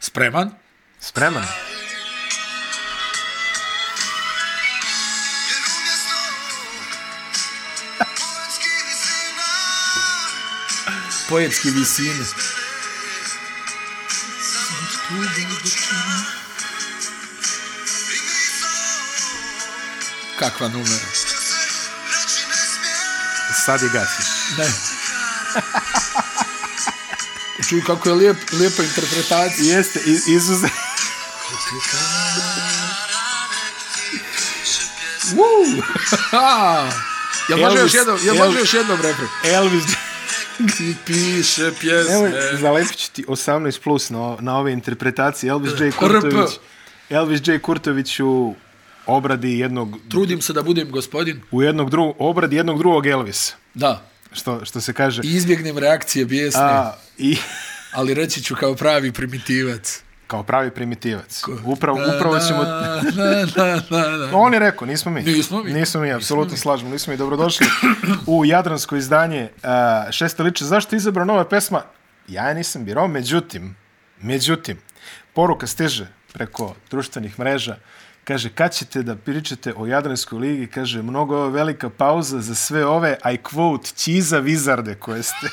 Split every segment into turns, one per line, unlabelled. Spreman?
Spreman?
Poetski visine. Kakva numera?
Sad je gasiš.
Ne. Čuj kako je lijep, lijepa interpretacija.
Jeste, i- izuze...
Woo! Ha! Jel može
Elvis,
još jednom, jel
Elvis.
može još jednom refren?
Elvis...
Ti piše pjesme.
Evo, zalepit ću ti 18 plus na, na ove interpretacije. Elvis J. Kurtović... Elvis J. Kurtović u obradi jednog...
Trudim se da budem gospodin.
U jednog drugog... Obradi jednog drugog Elvisa.
Da.
Što, što se kaže...
I izbjegnem reakcije bijesne,
A, i...
ali reći ću kao pravi primitivac.
Kao pravi primitivac. Upravo, upravo ćemo...
Na, na, na, na, na.
On je rekao, nismo mi.
Nismo mi.
Nismo mi, apsolutno slažemo. Nismo mi dobrodošli u Jadransko izdanje uh, šeste liče. Zašto je izabrao nova pesma? Ja je nisam birao, međutim, međutim, poruka stiže preko društvenih mreža. Kaže, kad ćete da pričate o Jadranskoj ligi? Kaže, mnogo je ovo velika pauza za sve ove, I quote, čiza vizarde koje ste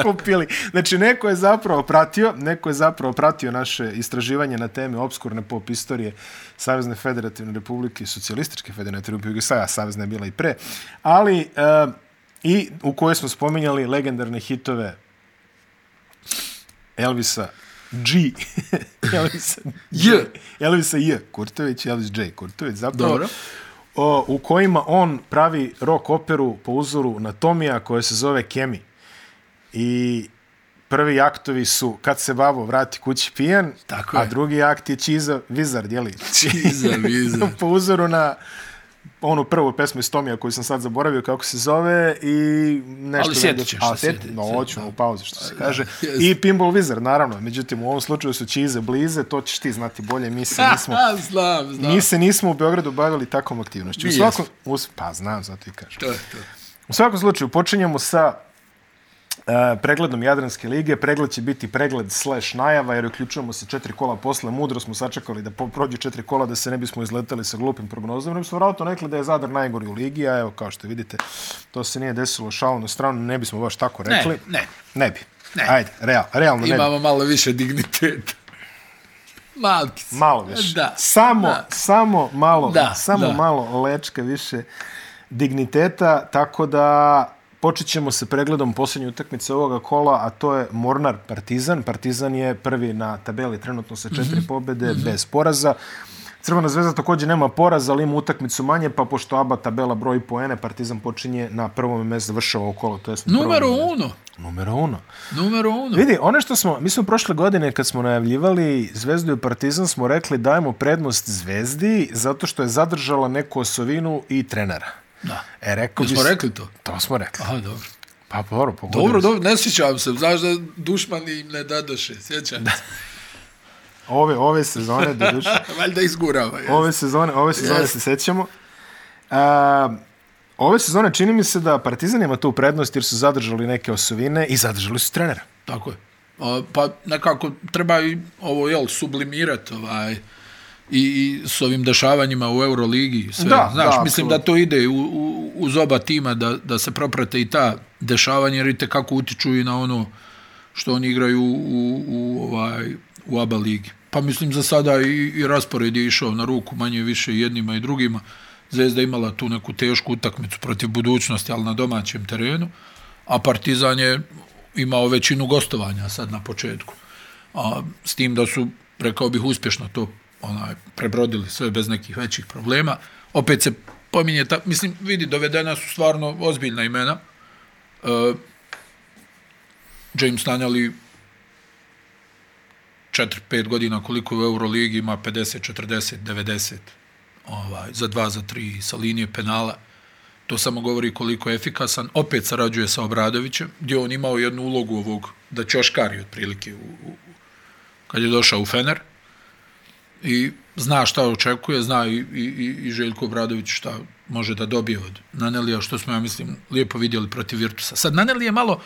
okupili. Znači, neko je zapravo pratio, neko je zapravo pratio naše istraživanje na teme obskurne pop istorije Savezne federativne republike i Socialističke federativne republike Jugoslavije, a Savezna je bila i pre, ali e, i u kojoj smo spominjali legendarne hitove Elvisa G. Elvisa
J.
Elvisa J. Kurtović, Elvis J. Kurtović, zapravo.
Dobro.
O, u kojima on pravi rock operu po uzoru na Tomija koja se zove Kemi. I prvi aktovi su Kad se babo vrati kući pijan,
Tako
a
je.
drugi akt je Čiza Wizard, jeli?
Čiza Wizard.
po uzoru na onu prvu pesmu iz Tomija koju sam sad zaboravio kako se zove i nešto...
Ali sjetit
negdje-
ćeš
A,
se,
sjetit,
sjetit
no,
se,
hoću u pauzi, što se kaže.
jest.
I Pinball Wizard, naravno. Međutim, u ovom slučaju su Čize blize, to ćeš ti znati bolje, mi se nismo...
Ha, znam, znam.
Mi se nismo u Beogradu bavili takvom aktivnošću. U
Mi
svakom, u, s- pa znam, zato i kažem.
To je to.
U svakom slučaju, počinjemo sa e, pregledom Jadranske lige. Pregled će biti pregled slash najava, jer uključujemo se četiri kola posle. Mudro smo sačekali da po- prođu četiri kola, da se ne bismo izletali sa glupim prognozama. Ne bismo vratno rekli da je Zadar najgori u ligi, a evo, kao što vidite, to se nije desilo šalno na stranu. Ne bismo baš tako rekli.
ne.
Ne bi.
Ne.
Ajde, real, realno ne bi.
Imamo malo više digniteta. Malkic.
Malo više.
Da.
Samo,
Da.
samo malo,
Da,
samo
da.
malo lečka više digniteta, tako da počet ćemo sa pregledom posljednje utakmice ovoga kola, a to je Mornar Partizan. Partizan je prvi na tabeli trenutno sa četiri
Mhm.
pobjede bez poraza. Crvena zvezda također nema poraza, ali ima utakmicu manje, pa pošto aba tabela broji poene, Partizan počinje na prvom mjestu, završava ovo kolo, to je
Numero uno.
Numero uno.
Numero uno.
Vidi, ono što smo, mi smo prošle godine kad smo najavljivali Zvezdu i Partizan smo rekli dajemo prednost Zvezdi zato što je zadržala neku osovinu i trenera.
Da.
E, rekao bi...
Jesmo
se-
rekli to?
To smo rekli.
Aha, dobro.
Pa dobro, pogodili.
Dobro,
smo.
dobro, ne sjećam se. Znaš da dušman im ne dadoše, sjećam se. Pa
Ove, ove sezone, doduše,
Valjda izgurava. Je.
ove sezone, ove sezone
Jeste.
se sećamo. A, ove sezone čini mi se da Partizan ima tu prednost jer su zadržali neke osovine i zadržali su trenera.
Tako je. O, pa nekako treba i ovo, jel, sublimirati ovaj, i, i s ovim dešavanjima u Euroligi. i Sve.
Da,
Znaš,
da,
mislim da to ide u, u, uz oba tima, da, da se proprate i ta dešavanja, jer i kako utiču i na ono što oni igraju u, u, u, ovaj, u ABA ligi. Pa mislim za sada i, i raspored je išao na ruku manje više i jednima i drugima. Zvezda je imala tu neku tešku utakmicu protiv budućnosti, ali na domaćem terenu, a Partizan je imao većinu gostovanja sad na početku. A, s tim da su, rekao bih, uspješno to onaj, prebrodili sve bez nekih većih problema. Opet se pominje, ta, mislim, vidi, dovedena su stvarno ozbiljna imena. E, James Nanjali 4-5 godina koliko je u Euroligi ima 50, 40, 90 ovaj, za 2, za 3 sa linije penala. To samo govori koliko je efikasan. Opet sarađuje sa Obradovićem, gdje je on imao jednu ulogu ovog, da čoškari otprilike, u, u, kad je došao u Fener. I zna šta očekuje, zna i, i, i- i Željko Obradović šta može da dobije od Nanelija, što smo, ja mislim, lijepo vidjeli protiv Virtusa. Sad, Nanelija je malo,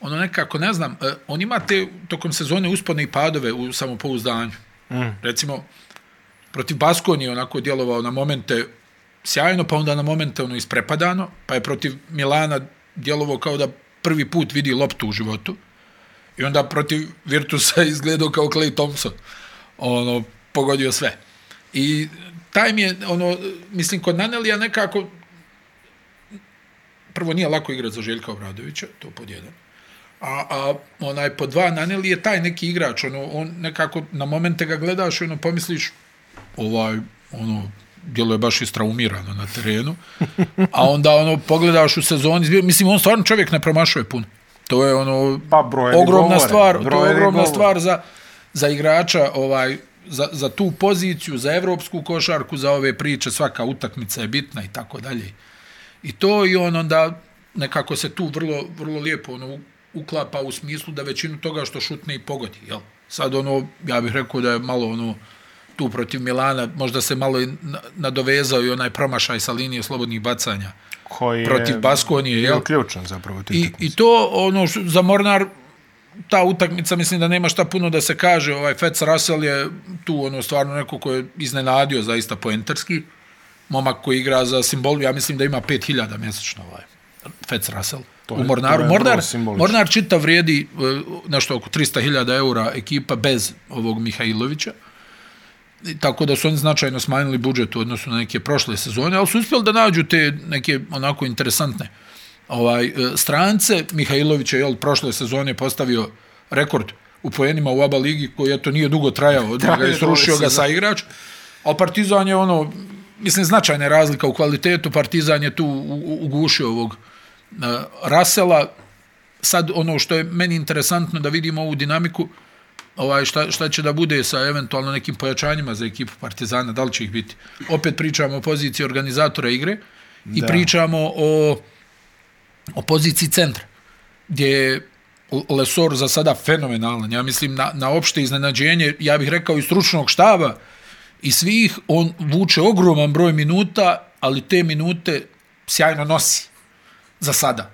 ono nekako, ne znam, e, on ima te tokom sezone uspone i padove u samopouzdanju. Mm. Recimo, protiv Baskoni je onako djelovao na momente sjajno, pa onda na momente ono isprepadano, pa je protiv Milana djelovao kao da prvi put vidi loptu u životu. I onda protiv Virtusa izgledao kao Clay Thompson. Ono, pogodio sve. I taj mi je, ono, mislim, kod Nanelija nekako prvo nije lako igrati za Željka Obradovića, to pod jedan. A, a onaj pod dva Naneli je taj neki igrač, ono, on nekako na momente ga gledaš i ono pomisliš ovaj, ono, djelo je baš istraumirano na terenu, a onda ono pogledaš u sezoni, mislim on stvarno čovjek ne promašuje puno. To je ono
Pa, brojevi
ogromna
govore,
stvar, to
brojevi
je ogromna
govore.
stvar za, za igrača ovaj za, za tu poziciju, za evropsku košarku, za ove priče, svaka utakmica je bitna i tako dalje. I to i on onda nekako se tu vrlo, vrlo lijepo ono, u- uklapa u smislu da većinu toga što šutne i pogodi. Jel? Sad ono, ja bih rekao da je malo ono, tu protiv Milana, možda se malo i na- nadovezao i onaj promašaj sa linije slobodnih bacanja
Koji je
protiv Baskonije, jel?
bio ključan zapravo. Ti
I, I to, ono, š- za Mornar, ta utakmica, mislim da nema šta puno da se kaže, ovaj Fats Russell je tu, ono, stvarno neko ko je iznenadio zaista poentarski, momak koji igra za simbol, ja mislim da ima 5000 mjesečno ovaj Fats Russell. To
To je-
u Mornaru.
to je
Mornar,
vrlo simbolično.
Mornar čita vrijedi e, nešto oko 300.000 eura ekipa bez ovog Mihajlovića. I tako da su oni značajno smanjili budžet u odnosu na neke prošle sezone, ali su uspjeli da nađu te neke onako interesantne ovaj, e, strance. Mihajlović je jel, prošle sezone postavio rekord u poenima u ABA ligi koji eto nije dugo trajao, od njega
Trajao
je srušio
ove
ga sa igrač. Ali Partizan je ono, mislim, značajna je razlika u kvalitetu. Partizan je tu u- u- ugušio ovog uh, Rasela. Sad ono što je meni interesantno da vidimo ovu dinamiku, ovaj šta, šta će da bude sa eventualno nekim pojačanjima za ekipu Partizana, da li će ih biti. Opet pričamo o poziciji organizatora igre i
Da.
pričamo o, o poziciji centra, gdje je L- Lesor za sada fenomenalan. Ja mislim na, na opšte iznenađenje, ja bih rekao i stručnog štaba i svih, on vuče ogroman broj minuta, ali te minute sjajno nosi za sada.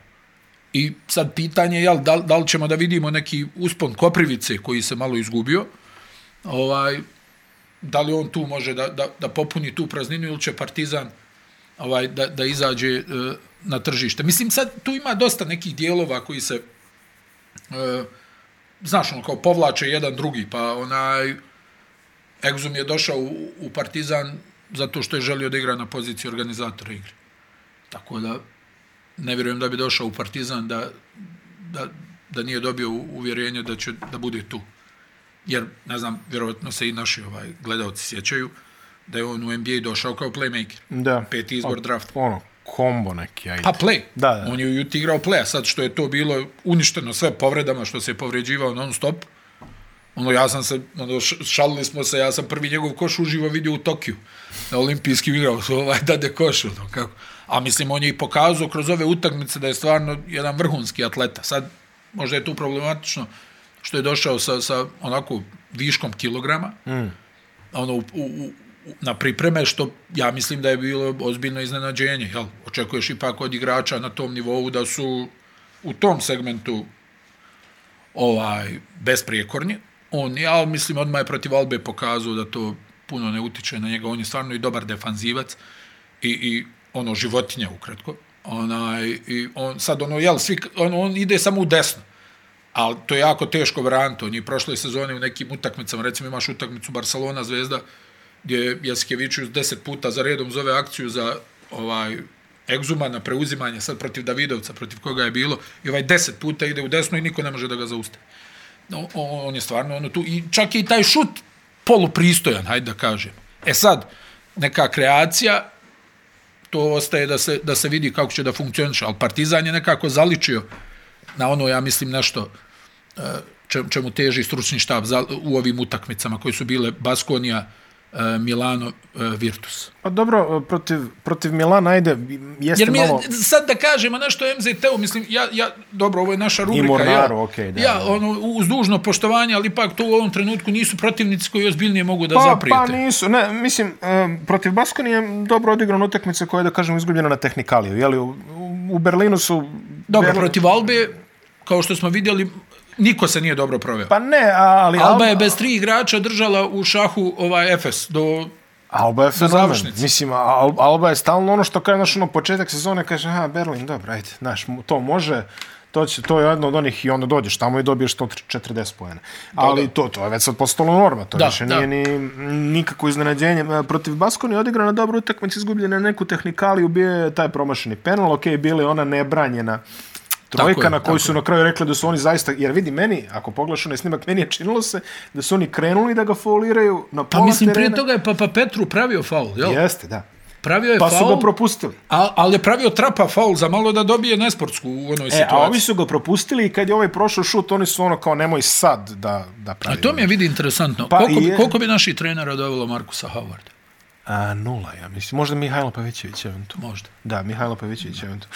I sad pitanje je jel, da, li- da li ćemo da vidimo neki uspon Koprivice koji se malo izgubio, ovaj, da li on tu može da, da, da popuni tu prazninu ili će Partizan ovaj, da, da izađe e, na tržište. Mislim, sad tu ima dosta nekih dijelova koji se, e, znaš, ono, kao povlače jedan drugi, pa onaj, Egzum je došao u, u Partizan zato što je želio da igra na poziciji organizatora igre. Tako da, ne vjerujem da bi došao u Partizan da, da, da nije dobio u- uvjerenje da će da bude tu. Jer, ne znam, vjerovatno se i naši ovaj, gledalci sjećaju da je on u NBA došao kao playmaker.
Da.
Peti izbor drafta.
Ono, kombo neki, ajde.
Pa play.
Da, da.
On je u Juti igrao play, a sad što je to bilo uništeno sve povredama, što se je povređivao non stop, ono ja sam se, ono, š- šalili smo se, ja sam prvi njegov koš uživo vidio u Tokiju, na olimpijskim igrao, ovaj dade koš, ono, kako. A mislim, on je i pokazao kroz ove utakmice da je stvarno jedan vrhunski atleta. Sad, možda je tu problematično što je došao sa, sa onako viškom kilograma, mm. ono, u, u, u- na pripreme, što ja mislim da je bilo ozbiljno iznenađenje, jel? Očekuješ ipak od igrača na tom nivou da su u tom segmentu ovaj besprijekorni. On je, ali mislim, odmah je protiv Albe pokazao da to puno ne utiče na njega. On je stvarno i dobar defanzivac i, i ono, životinja ukratko. Onaj, i on, sad ono, jel, svi, on, on ide samo u desno. Ali to je jako teško braniti. On je i prošle sezone u nekim utakmicama, recimo imaš utakmicu Barcelona Zvezda, gdje je Jaskevičius 10 puta za redom zove akciju za ovaj Egzuma na preuzimanje sad protiv Davidovca, protiv koga je bilo, i ovaj 10 puta ide u desno i niko ne može da ga zaustavi. No, o- on je stvarno ono tu, i čak je i taj šut polupristojan, hajde da kažem. E sad, neka kreacija, to ostaje da se, da se vidi kako će da funkcioniše, ali Partizan je nekako zaličio na ono, ja mislim, nešto e, čem- čemu teži stručni štab za, u ovim utakmicama koji su bile Baskonija, e, Milano, e, Virtus.
Pa dobro, protiv, protiv Milana, ajde, jeste
Jer mi je,
malo...
sad da kažemo nešto o MZT-u, mislim, ja, ja, dobro, ovo je naša rubrika.
Mornaru,
ja,
okej, da,
Ja,
da.
ono, uz dužno poštovanje, ali ipak to u ovom trenutku nisu protivnici koji ozbiljnije mogu da
Pa,
zaprijete.
pa nisu, ne, mislim, em, protiv Baskoni je dobro odigrana utakmica koja je, da kažem, izgubljena na tehnikaliju, jeli, u, u Berlinu su...
Dobro,
Berlin-
protiv Albe kao što smo vidjeli, niko se nije dobro proveo.
Pa ne, a- ali...
Alba je bez tri igrača držala u šahu ovaj Efes do
Alba je fenomen.
završnice.
Mislim, Al, Alba je stalno ono što kaže, znaš, ono, početak sezone kaže, ha, Berlin, dobro, ajde, znaš, mu- to može, to, će, to je jedno od onih i onda dođeš tamo i dobiješ 140 pojena. Ali to, to je već sad postalo norma, to
Da,
da, više
da.
nije ni, nikako iznenađenje. E, Protiv Baskoni je odigrana dobra utakmica, izgubljena je neku tehnikaliju, bio je taj promašeni penal, ok, bila je ona nebranjena trojka
Tako je,
na koju
tako
su na kraju rekli da su oni zaista, jer vidi meni, ako pogledaš onaj snimak, meni je činilo se da su oni krenuli da ga fauliraju na pola
Pa mislim,
terena.
prije toga je Papa Petru pravio faul, jel?
Jeste, da.
Pravio je
Pa su
faul,
ga propustili.
a, ali je pravio trapa faul za malo da dobije nesportsku u onoj
E, a ovi
situaciji.
su ga propustili i kad je ovaj prošao šut, oni su ono kao nemoj sad da, da
A,
pravi.
to mi je vidi interesantno.
Pa
koliko, bi,
je-
koliko bi naših trenera dovelo Markusa Howarda?
A, nula, ja mislim. Možda Mihajlo Pavićević eventualno.
Možda.
Da, Mihajlo Pavićević eventualno.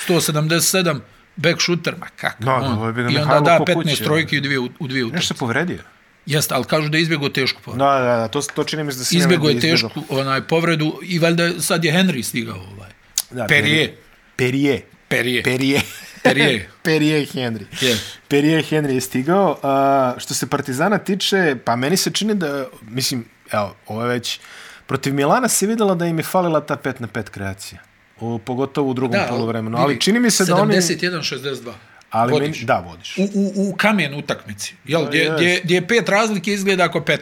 177 back shooter, ma kako.
Da,
on.
da, bi nam
I onda
Mihajlo
da
ko
15
kuće,
trojke i dvije, u- u dvije utakmice.
Nešto se povredio.
Jeste, ali kažu da je izbjegao tešku povredu.
Da, da, da, to, to čini mi se da se
Izbjegao
ne
je
bi izbjegao.
tešku onaj povredu i valjda je- sad je Henry stigao ovaj.
Da,
Perije.
Perije.
Perije.
Perije.
Perije.
Perije Henry.
Je.
Perije Henry je stigao. A, što se Partizana tiče, pa meni se čini da, mislim, evo, ovo je već, protiv Milana se vidjela da im je falila ta 5 na 5 kreacija. U, pogotovo u drugom
Da,
polovremenu.
vidi,
Ali čini mi se da oni...
71-62.
Ali
Vodiš.
Meni, da, vodiš.
U, u, u kamen utakmici. Jel, gdje,
jest.
gdje, gdje je pet razlike izgleda ako 15.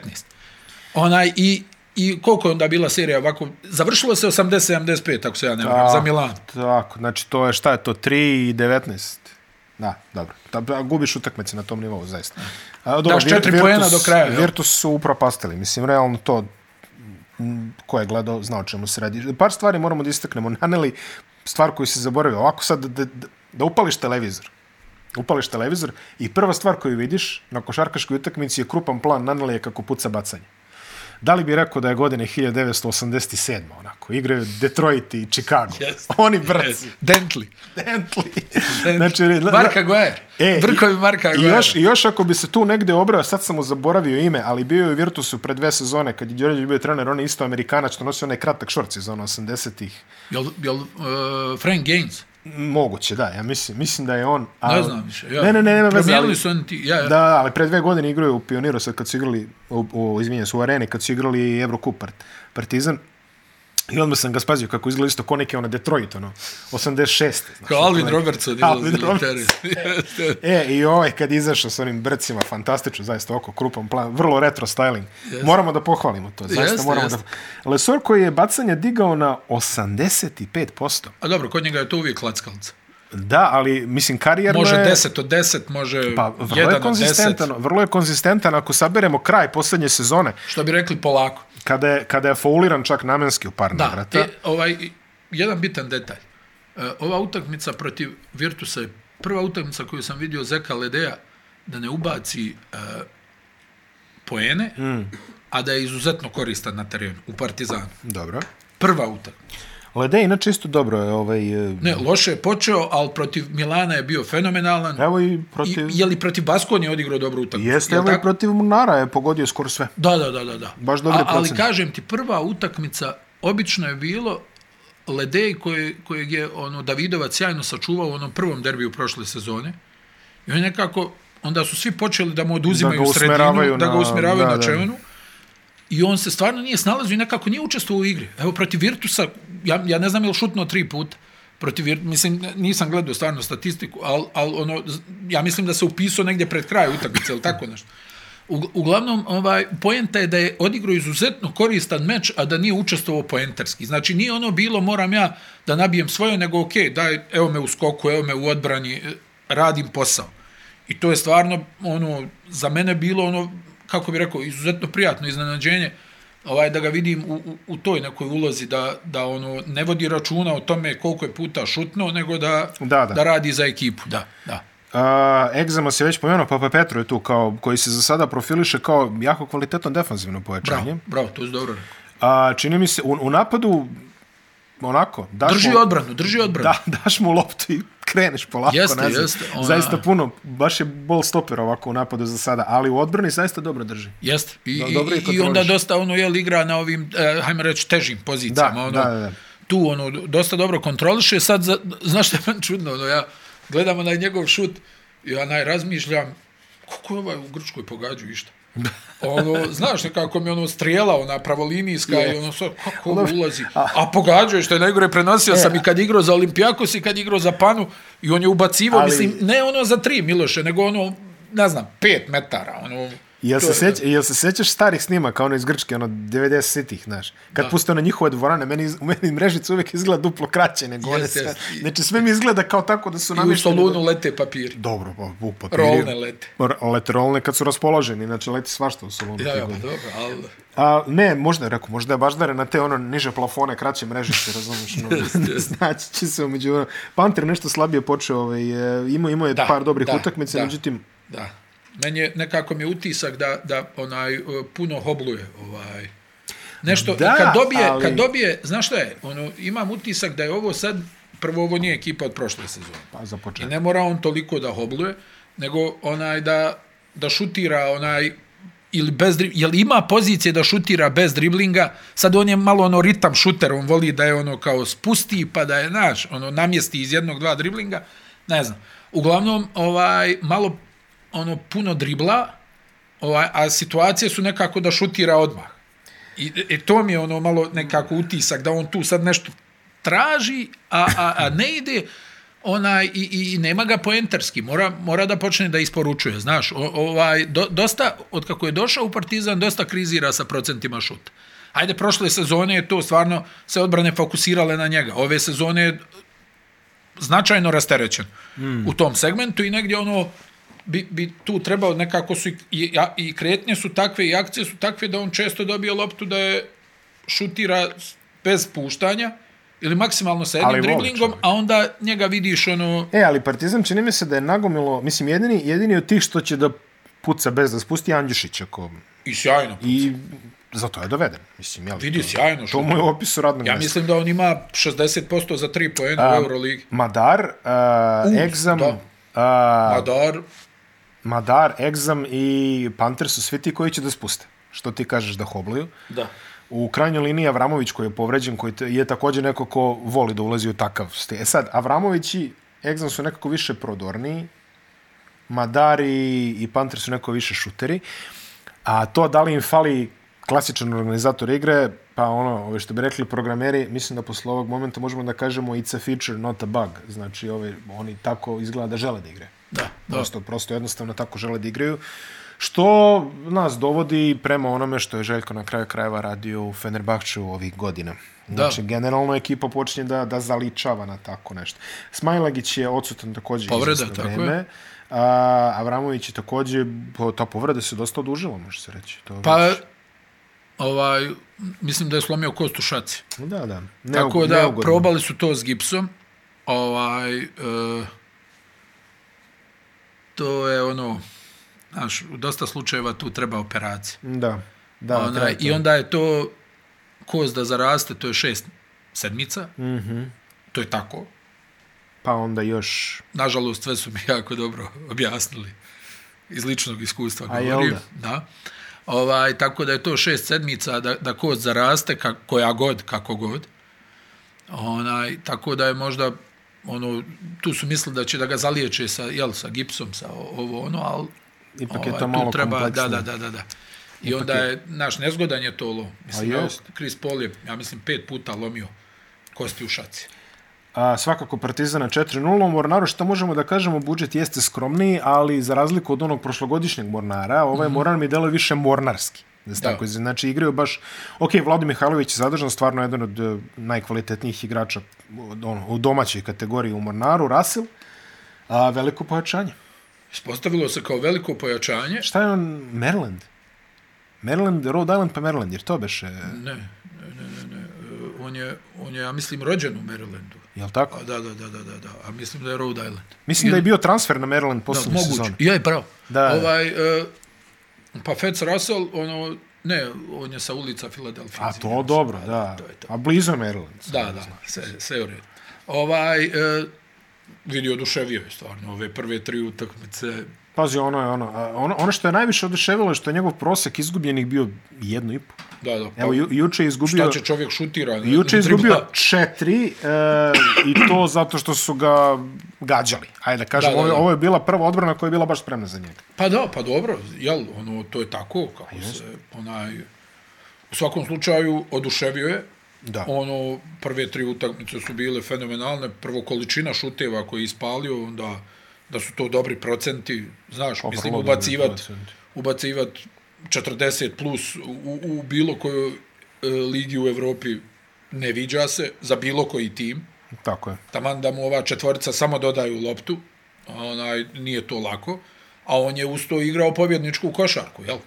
Onaj, i, I koliko je onda bila serija ovako? Završilo se 80-75, ako se ja ne varam, za Milan.
Tako, znači to je, šta je to, 3 i 19. Da, dobro. Da, da, gubiš utakmice na tom nivou, zaista. A, dobro,
Daš
Vir-
četiri
Virtus-
poena do kraja, jel?
Virtus su upropastili. Mislim, realno to m, ko je gledao, znao o čemu se radi. Par stvari moramo da istaknemo. Naneli, stvar koju si zaboravio. Ovako sad, da, da, da upališ televizor. Upališ televizor i prva stvar koju vidiš na košarkaškoj utakmici je krupan plan Nanelija kako puca bacanje. Da li bi rekao da je godine 1987. onako, igraju Detroit i Chicago.
Jest.
Oni brci.
Dentli.
Bentley.
Dentli.
Znači, da-
Marka Goer. E, Brkovi Marka
i
Goer.
još, I još ako bi se tu negde obrao, sad sam mu zaboravio ime, ali bio je u Virtusu pre dve sezone, kad je Đorđević bio trener, on je isto Amerikanac, što nosi onaj kratak šorci iz ono 80-ih.
Jel, jel uh, Frank Gaines?
Moguće, da, ja mislim, mislim da je on...
Ne
ali-
znam više. Ja.
Ne, ne, ne, nema veze,
Promijenili
ali-
su oni ti... Ja,
Da,
ja.
da, ali pre dve godine igraju u Pioniru sad kad su igrali, u, u, izvinjam se, u areni kad su igrali Evrokup part, Partizan. I odmah sam ga spazio kako izgleda isto ko neke ono Detroit, ono, 86. Znaš,
Kao Alvin
otprilike.
Robertson.
Alvin
izlazi na
Robertson.
teren. Jeste.
E, i ovaj kad je izašao s onim brcima, fantastično, zaista oko, krupan plan, vrlo retro styling. Yes. Moramo da pohvalimo to, zaista
Jeste,
moramo
jeste.
da... Lesor koji je bacanje digao na 85%.
A dobro, kod njega je to uvijek klackalca.
Da, ali, mislim, karijerno
Može
je...
10 od 10, može
Pa,
1
vrlo je,
od 10.
konzistentan, vrlo je konzistentan ako saberemo kraj poslednje sezone,
Što bi rekli polako.
kada je, kada je fauliran čak namenski u par
Da,
navrata.
e, ovaj, i- jedan bitan detalj. E, ova utakmica protiv Virtusa je prva utakmica koju sam vidio Zeka Ledeja da ne ubaci e, poene,
Hmm.
mm. a da je izuzetno koristan na terenu, u Partizanu.
Dobro.
Prva utakmica.
Lede, inače isto dobro je ovaj... e,
Ne, loše je počeo, ali protiv Milana je bio fenomenalan.
Evo i
I,
protiv...
je li protiv Baskonije odigrao dobru utakmicu?
Jeste,
Jel
evo i
tako?
protiv Munara je pogodio skoro sve.
Da, da, da, da. da.
Baš dobri
A, Ali
procent.
kažem ti, prva utakmica obično je bilo Ledej koji, kojeg je ono Davidovac sjajno sačuvao u onom prvom derbiju prošle sezone. I on je nekako, onda su svi počeli da mu oduzimaju
Da ga usmeravaju
sredinu, da ga
na-
usmjeravaju
da,
na,
da.
čevenu. I on se stvarno nije snalazio i nekako nije učestvovao u igri. Evo, protiv Virtusa, ja, ja ne znam je li šutno tri puta, protiv Virtusa, mislim, nisam gledao stvarno statistiku, ali al, ono, z- ja mislim da se upisao negdje pred kraj utakmice, ili tako nešto. U, uglavnom, ovaj, poenta je da je odigrao izuzetno koristan meč, a da nije učestvovao poenterski. Znači, nije ono bilo, moram ja da nabijem svoje, nego, ok, daj, evo me u skoku, evo me u odbrani, eh, radim posao. I to je stvarno, ono, za mene bilo, ono, kako bi rekao, izuzetno prijatno iznenađenje, ovaj, da ga vidim u, u, u toj nekoj ulozi, da, da ono, ne vodi računa o tome koliko je puta šutno, nego da,
Da, da.
da radi za ekipu. Da, da.
Uh, Egzama se već pomenuo, Papa Petro je tu kao, koji se za sada profiliše kao jako kvalitetno defanzivno
Bravo,
pojačanje.
bravo, to je dobro. rekao.
A, čini mi se, u, u napadu, onako, daš
Drži
mu,
odbranu, drži odbranu.
da, daš mu loptu i kreneš polako
Jeste,
nazad.
jeste, ona-
Zaista puno, baš je bol stoper ovako u napadu za sada, ali u odbrani zaista dobro drži.
Jeste. I,
Do-
i,
dobro je
i
kontroliš.
onda dosta ono jel igra na ovim eh, hajmo reći težim pozicijama,
Da,
ono.
da, da, da.
Tu ono dosta dobro kontroliše, sad za, znaš šta je meni čudno, ono ja gledamo na njegov šut ja najrazmišljam, kako je ovaj u Grčkoj pogađu išta? ono, znaš nekako mi ono strijela ona pravolinijska i ono sad kako ovo ulazi a pogađao je što je najgore prenosio
E.
sam i kad igrao za Olimpijakos i kad igrao za Panu i on je ubacivo,
Ali-
mislim ne ono za tri Miloše nego ono ne znam pet metara ono
Jel
to
se,
je-
seć, jel se sećaš starih snimaka, ono iz Grčke, ono 90-ih, znaš? Kad puste na njihove dvorane, meni, iz- u meni mrežica uvijek izgleda duplo kraće nego one
Jest,
sve.
jest.
Znači, sve mi izgleda kao tako da su
i u
namješteni.
Solunu lete papiri
Dobro, pa bu, papiri.
Rolne lete.
R- Lete rolne kad su raspoloženi, znači leti svašta u salonu.
ja,
te
ja, pa
godine.
dobro, ali
A, ne, možda je rekao, možda je baš na te ono niže plafone, kraće mrežice, razumiješ, no, znači će se umeđu. Panter nešto slabije počeo, ovaj, e, imao, imao je
Da,
par dobrih
da,
utakmica,
da.
međutim,
da meni je nekako mi je utisak da, da onaj e, puno hobluje ovaj nešto
Da,
da, kad dobije
ali-
ali... kad dobije znaš šta je ono imam utisak da je ovo sad prvo ovo nije ekipa od prošle sezone
pa za
I
početak.
ne mora on toliko da hobluje, nego onaj da, da šutira onaj ili bez drib- jel ima pozicije da šutira bez driblinga, sad on je malo ono ritam šuter, on voli da je ono kao spusti pa da je naš, ono namjesti iz jednog dva driblinga, ne znam. Uglavnom ovaj malo ono puno dribla, ovaj, a situacije su nekako da šutira odmah. I, I to mi je ono malo nekako utisak da on tu sad nešto traži, a, a, a ne ide onaj, i, i, i nema ga poenterski, mora, mora da počne da isporučuje, znaš, o, ovaj, do, dosta, od kako je došao u Partizan, dosta krizira sa procentima šuta. Ajde, prošle sezone je to stvarno se odbrane fokusirale na njega. Ove sezone je značajno rasterećen mm. u tom segmentu i negdje ono bi, bi tu trebao nekako su i, i, a- i kretnje su takve i akcije su takve da on često dobije loptu da je šutira s- bez puštanja ili maksimalno sa
Ali
jednim
voli
driblingom,
čovjek.
a onda njega vidiš ono
E, ali Partizan čini mi se da je nagomilo, mislim, jedini, jedini od tih što će da puca bez da spusti je Andjušić, ako...
i sjajno.
I zato je doveden, mislim, jel?
Vidi,
to-
sjajno
To
šutira.
mu je opis u radnom
Ja
mjestu.
mislim da on ima 60% za 3 poena u Euroligi.
Madar, uh,
U,
Egzam,
da.
uh,
Madar,
Madar, Egzam i Panter su svi ti koji će da spuste. Što ti kažeš da hobluju.
da.
U krajnjoj liniji Avramović koji je povređen, koji te- je također neko ko voli da ulazi u takav ste. E sad, Avramović i Egzam su nekako više prodorniji, Madar i, i Panter su nekako više šuteri, a to da li im fali klasičan organizator igre, pa ono, ove što bi rekli programeri, mislim da posle ovog momenta možemo da kažemo it's a feature, not a bug. Znači, ove, oni tako izgleda da žele da igre.
Da, da.
Prosto, prosto jednostavno tako žele da igraju. Što nas dovodi prema onome što je Željko na kraju krajeva radio u Fenerbahču ovih godina. Znači, da. generalno ekipa počinje da, da zaličava na tako nešto. Smajlagić je odsutan također
Povreda,
izvesno
tako je.
vreme. A, Avramović je također, po- ta povreda se dosta odužila, može se reći. To je
Pa,
već-
ovaj, mislim da je slomio kost u šaci.
da, da. Neug,
Tako da
neugodno.
probali su to s gipsom. Ovaj, e, to je ono, znaš, u dosta slučajeva tu treba operacija.
Da, da.
Ona,
traje to.
I onda je to kost da zaraste, to je šest sedmica. Mm -hmm.
Mhm.
To je tako.
Pa onda još...
Nažalost, sve su mi jako dobro objasnili. Iz ličnog iskustva
A jel
govorim.
da?
Da. Ovaj, tako da je to šest sedmica da, da kost zaraste, ka, koja god, kako god. Onaj, tako da je možda ono, tu su mislili da će da ga zaliječe sa, jel, sa gipsom, sa o- ovo ono, ali
Ipak je to malo
Ovaj, treba, da,
kompleksnije.
da, da, da, da. I onda je, naš, nezgodan je to lom. Mislim,
A
evo,
jest.
Chris Paul je, ja mislim, pet puta lomio kosti u šaci.
A, svakako Partizana 4-0, Mornaru što možemo da kažemo, budžet jeste skromniji, ali za razliku od onog prošlogodišnjeg Mornara, ovaj mm -hmm. Mornar mi deluje više mornarski. Da se
Mhm. Da.
tako izrazim. znači igraju baš ok, Vlado Mihajlović je zadržan stvarno jedan od e, najkvalitetnijih igrača od, ono, u domaćoj kategoriji u Mornaru, Rasil a veliko pojačanje.
Ispostavilo se kao veliko pojačanje.
Šta je on Maryland? Maryland, Rhode Island pa Maryland, jer to beše,
Ne, ne, ne, ne, ne. E, On je, on je, ja mislim, rođen u Marylandu.
jel tako?
A, da, da, da, da, da, da. A mislim da je Rhode Island.
Mislim da je bio transfer na Maryland
Da,
poslednje
moguće.
sezone.
Ja je pravo.
Da.
Ovaj, e, pa Fitz Russell, ono, ne, on je sa ulica Filadelfije.
A
izvinjavam
to
se.
dobro, da.
to je to.
A blizu je Maryland.
Da, da, sve, sve u redu. Ovaj, e, vidi oduševio je stvarno ove prve tri utakmice.
Pazi, ono je ono. a, Ono, ono što je najviše oduševilo je što je njegov prosek izgubljenih bio jednu i po.
Da, da. Pa,
Evo, ju, juče je izgubio...
šta će čovjek šutira? na-
Juče
na
je izgubio
dribla?
četiri e, i to zato što su ga gađali. Ajde da kažem,
Da, da,
ovo je-
da.
ovo je bila prva odbrana koja je bila baš spremna za njega.
Pa da, pa dobro, jel, ono, to je tako,
Pa
kako se, onaj, u svakom slučaju, oduševio je,
Da.
ono, prve tri utakmice su bile fenomenalne, prvo količina šuteva koje je ispalio, onda, da su to dobri procenti, znaš,
Pa,
mislim,
vrlo dobri
ubacivat,
procenti.
ubacivat 40 plus u, u bilo kojoj e, ligi u Evropi ne viđa se, za bilo koji tim,
Tako je.
taman da mu ova četvorica samo dodaju loptu, onaj, nije to lako, a on je usto igrao pobjedničku košarku, jel?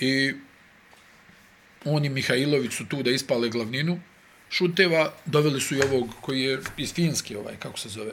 I on i Mihajlović su tu da ispale glavninu šuteva, doveli su i ovog koji je iz Finske, ovaj, kako se zove.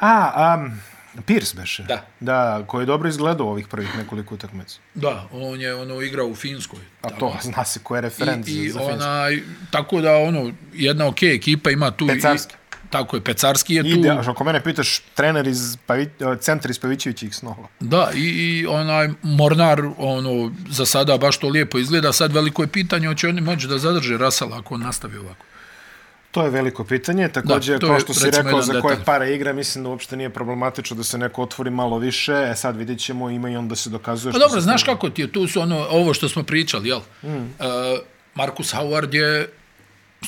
A, um, Pierce beše.
Da.
Da, koji je dobro izgledao ovih prvih nekoliko utakmica.
Da, on je ono igrao u Finskoj.
A to zna se ko je referent
I, i
za, za Finsku.
onaj, tako da ono, jedna okej okay, ekipa ima tu... i-
Pecarski.
tako je, Pecarski je tu.
Ide, ako mene pitaš, trener iz Pavi, e, centar iz Pavićevićih snova.
Da, i, i onaj Mornar, ono, za sada baš to lijepo izgleda. Sad veliko je pitanje, hoće oni moći da zadrže Rasala ako on nastavi ovako.
To je veliko pitanje, također,
to
kao
je,
što si
recimo,
rekao,
jedan
za
detalj.
koje pare igra, mislim da uopšte nije problematično da se neko otvori malo više, e sad vidjet ćemo, ima i onda se dokazuje
Pa
što
dobro,
se-
znaš kako ti je, tu su ono, ovo što smo pričali, jel? Mm. Uh, Markus Howard je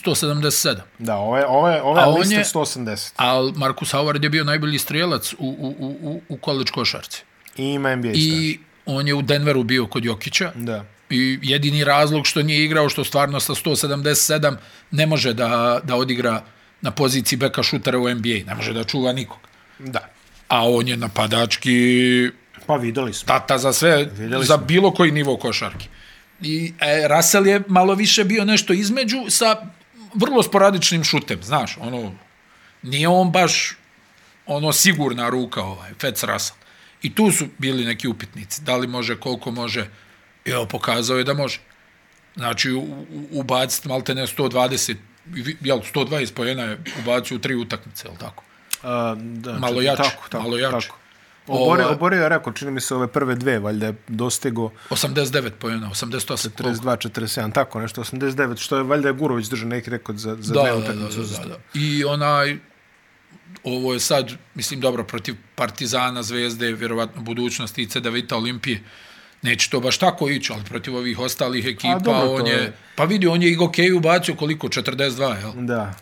177,
Da, ove, ove, ove
A on
liste
je-
180.
ali Markus Howard je bio najbolji strijelac u, u, u, u, u koleđ košarci.
I ima NBA I...
I on je u Denveru bio kod Jokića.
Da.
I jedini razlog što nije igrao, što stvarno sa 177 ne može da, da odigra na poziciji beka šutera u NBA. Ne može da čuva nikog.
Da.
A on je napadački
Pa videli smo.
tata za sve,
Vidjeli
za
smo.
bilo koji nivo košarki. I e, Russell je malo više bio nešto između sa vrlo sporadičnim šutem, znaš, ono, nije on baš ono sigurna ruka ovaj, Fec Russell. I tu su bili neki upitnici, da li može, koliko može, i evo, pokazao je da može. Znači, u- u- ubaciti malte ne 120, i vi- jel, 120 pojena je ubacio u tri utakmice, jel tako?
A, da,
Malo
čekaj,
jače,
tako, tako,
malo jače.
Tako. Oborio,
Ova-
oborio je rekao, čini mi se ove prve dve, valjda je dostego
89 pojena, 88. koliko?
32, 47, tako nešto, 89, što je valjda je Gurović držao neki rekord za, za
da,
dve
da, da,
utakmice
da,
uzastopno.
da. I onaj, ovo je sad, mislim, dobro, protiv Partizana, Zvezde, vjerovatno budućnost i CDVita Olimpije, neće to baš tako ići, ali protiv ovih ostalih ekipa,
dobro, to
on je,
je.
pa vidi, on je i Gokeju bacio koliko, 42, jel?
Da.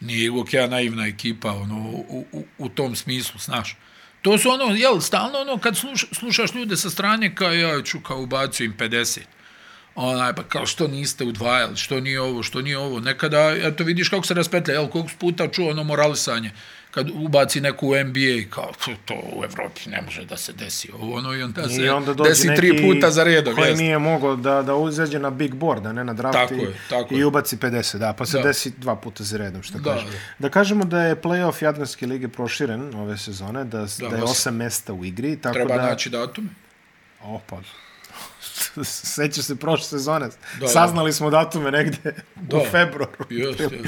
Nije i Gokeja naivna ekipa, ono, u, u, u tom smislu, znaš. To su ono, jel, stalno ono, kad sluš, slušaš ljude sa strane, kao ja ću, kao ubacio im 50 onaj, pa kao što niste udvajali, što nije ovo, što nije ovo. Nekada, eto vidiš kako se raspetlja, jel, koliko puta čuo ono moralisanje, kad ubaci neku u NBA, kao "Pf, to u Evropi ne može da se desi, ovo ono, i onda se
I onda dođe
desi
neki
tri puta za redom.
koji
jeste.
nije mogao da, da uzeđe na big board, a ne na draft
Tako
i,
je, tako
i
je.
ubaci 50, da, pa se
Da.
desi dva puta za redom, što
Da,
kaže.
da.
Da kažemo da je playoff Jadranske lige proširen ove sezone, da, da, da je
osam.
osam mesta u igri, tako
Treba
da...
naći datume.
Opa. Sećaš se prošle sezone.
Da,
Saznali smo datume negde u
Da.
februaru.
Jeste, jeste.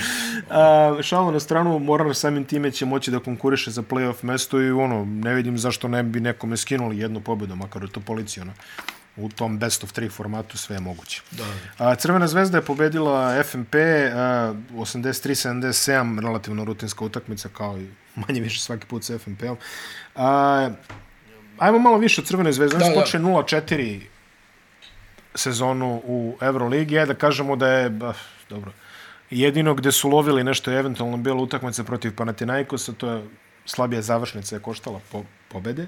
A, šalu na stranu, Moran samim time će moći da konkuriše za playoff mesto i ono, ne vidim zašto ne bi nekome skinuli jednu pobedu, makar je to policija, ono. U tom best of 3 formatu sve je moguće.
Da, da.
A, Crvena zvezda je pobedila FNP a, 83-77, relativno rutinska utakmica, kao i manje više svaki put sa FNP-om. A, Ajmo malo više o Crvenoj zvezdi. Oni
Da,
su
da.
počeli 0-4 sezonu u Euroligi. Ajde da kažemo da je, bah, dobro, jedino gde su lovili nešto je eventualno bilo utakmice protiv Panathinaikosa, to je slabija završnica je koštala po, pobede.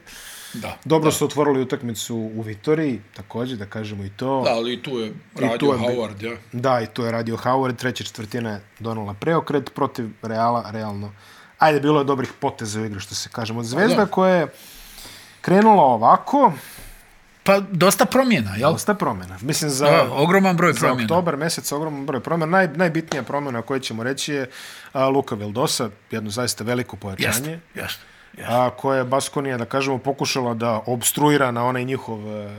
Da.
Dobro su otvorili utakmicu u Vitoriji, također da kažemo i to.
Da, ali i tu je radio
tu je bi-
Howard, ja.
Da, i to je radio Howard, treća četvrtina je donala preokret protiv Reala, realno. Ajde, bilo je dobrih poteza u igri, što se kažemo. Zvezda
Da.
koja je krenula ovako,
Pa dosta promjena, jel?
dosta promjena. Mislim, za,
Da, ogroman broj
za
promjena.
oktobar mesec ogroman broj promjena. Naj, najbitnija promjena koju ćemo reći je a, Luka Veldosa, jedno zaista veliko pojačanje.
Jeste, jeste. jeste.
a, koje je Baskonija, da kažemo, pokušala da obstruira na onaj njihov e,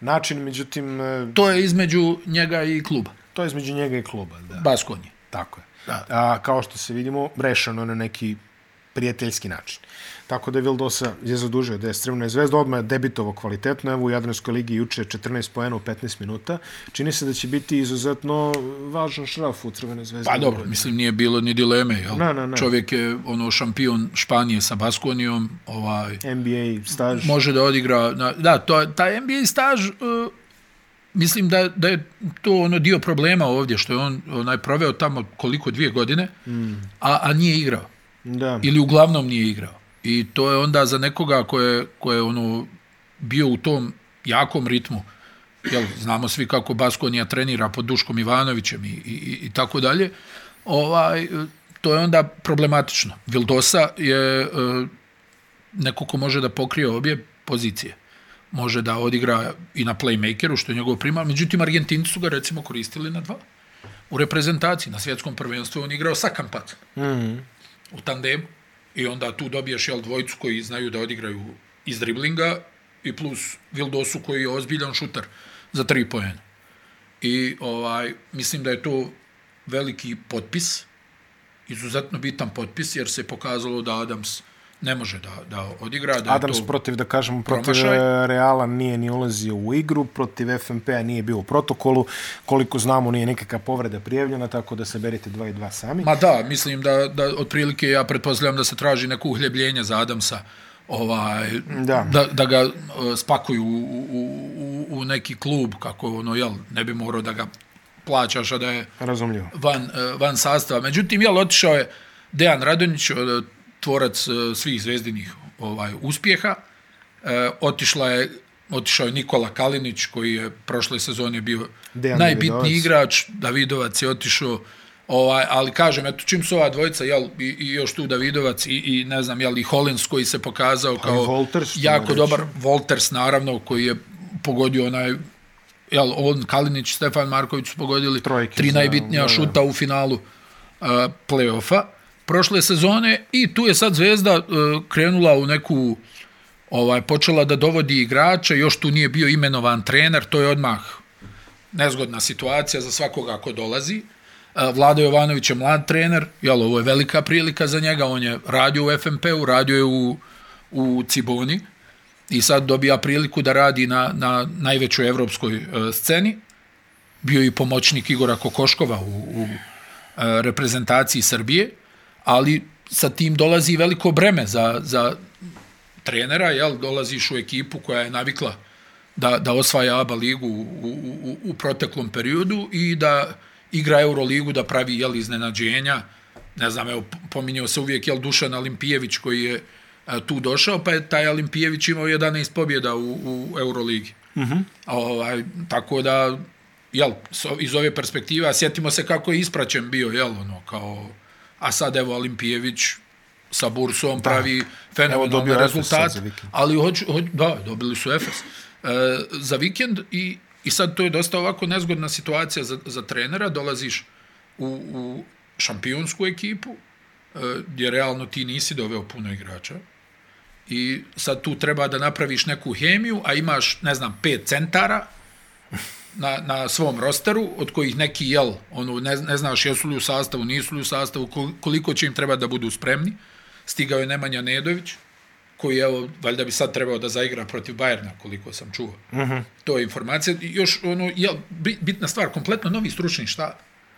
način, međutim, e,
To je između njega i kluba,
to je između njega i kluba. Da.
Baskonje.
Tako je.
Da.
A, kao što se vidimo, rešeno je na neki prijateljski način. Tako da Vildosa je zadužio da je Strivna zvezda, odmah je debitovo kvalitetno, evo u Jadranskoj ligi juče 14 poena u 15 minuta. Čini se da će biti izuzetno važan šraf u Crvene zvezde.
Pa dobro, mislim, nije bilo ni dileme, jel?
Ne, ne, ne.
Čovjek je ono šampion Španije sa Baskonijom, ovaj,
NBA staž.
može da odigra... Na, da, to, taj NBA staž, uh, mislim da, da je to ono dio problema ovdje, što je on onaj proveo tamo koliko, dvije godine, mm. a, a nije igrao.
Da.
Ili uglavnom nije igrao. I to je onda za nekoga ko je, ko je ono bio u tom jakom ritmu, jel, znamo svi kako Baskonija trenira pod Duškom Ivanovićem i, i, i- i tako dalje, ovaj, to je onda problematično. Vildosa je e, neko ko može da pokrije obje pozicije. Može da odigra i na playmakeru, što je njegov primar. Međutim, Argentinci su ga recimo koristili na dva. U reprezentaciji, na svjetskom prvenstvu, je on igrao sa Kampacom u tandemu i onda tu dobiješ jel, dvojicu koji znaju da odigraju iz driblinga i plus Vildosu koji je ozbiljan šuter za tri poena. I ovaj, mislim da je to veliki potpis, izuzetno bitan potpis, jer se pokazalo da Adams ne može da, da odigra. Da je
Adams
to...
protiv, da kažemo, protiv
Promašaj.
e, Reala nije ni ulazio u igru, protiv FNP-a nije bio u protokolu, koliko znamo nije nikakva povreda prijavljena, tako da se berite 2 i 2 sami.
Ma da, mislim da, da otprilike ja pretpostavljam da se traži neko uhljebljenje za Adamsa, ovaj,
Da.
Da, da ga e, spakuju u, u, u, u neki klub, kako ono, jel, ne bi morao da ga plaćaš, a da je
Razumljivo.
van, e, van sastava. Međutim, jel, otišao je Dejan Radonjić, e, tvorac e, svih zvezdinih ovaj, uspjeha. E, otišla je otišao je Nikola Kalinić koji je prošle sezone bio
Dejan
Dejan najbitniji
Davidovac.
igrač, Davidovac je otišao ovaj, ali kažem, eto čim su ova dvojica jel, i, i još tu Davidovac i, i ne znam, jel, i Holens koji se pokazao kao
Pa Wolters, što
jako
moram
dobar Volters naravno koji je pogodio onaj jel, on, Kalinić, Stefan Marković su pogodili
Trojke,
tri
da,
najbitnija
da, da.
šuta u finalu uh, play-offa prošle sezone i tu je sad Zvezda uh, krenula u neku ovaj počela da dovodi igrače, još tu nije bio imenovan trener, to je odmah nezgodna situacija za svakoga ko dolazi. E, Vlada Jovanović je mlad trener, jel, ovo je velika prilika za njega, on je radio u FMP-u, radio je u, u Ciboni i sad dobija priliku da radi na, na najvećoj evropskoj e, sceni. Bio je i pomoćnik Igora Kokoškova u, u e, reprezentaciji Srbije, ali sa tim dolazi veliko breme za, za trenera, jel, dolaziš u ekipu koja je navikla da, da osvaja ABA ligu u, u, u, u proteklom periodu i da igra Euroligu, da pravi jel, iznenađenja. Ne znam, evo, pominjao se uvijek jel, Dušan Alimpijević koji je e, tu došao, pa je taj Alimpijević imao 11 pobjeda u, u Euroligi. Uh -huh. ovaj, tako da, jel, s o- iz ove perspektive, a sjetimo se kako je ispraćen bio, jel, ono, kao, a sad evo Alimpijević sa Bursom pravi
dobio
fenomenalne
Efes sad za
rezultate,
vikend.
ali hoću, hoću, da, dobili su Efes. E, za vikend i, i sad to je dosta ovako nezgodna situacija za, za trenera, dolaziš u, u šampionsku ekipu, e, gdje realno ti nisi doveo puno igrača, i sad tu treba da napraviš neku hemiju, a imaš, ne znam, pet centara na, na svom rosteru, od kojih neki, jel, ono, ne, ne znaš jesu li u sastavu, nisu li u sastavu, kol- koliko će im treba da budu spremni. Stigao je Nemanja Nedović, koji, evo, valjda bi sad trebao da zaigra protiv Bajerna, koliko sam čuo. Mm -hmm. To je informacija. I Još, ono, jel, bi- bitna stvar, kompletno novi stručni štab.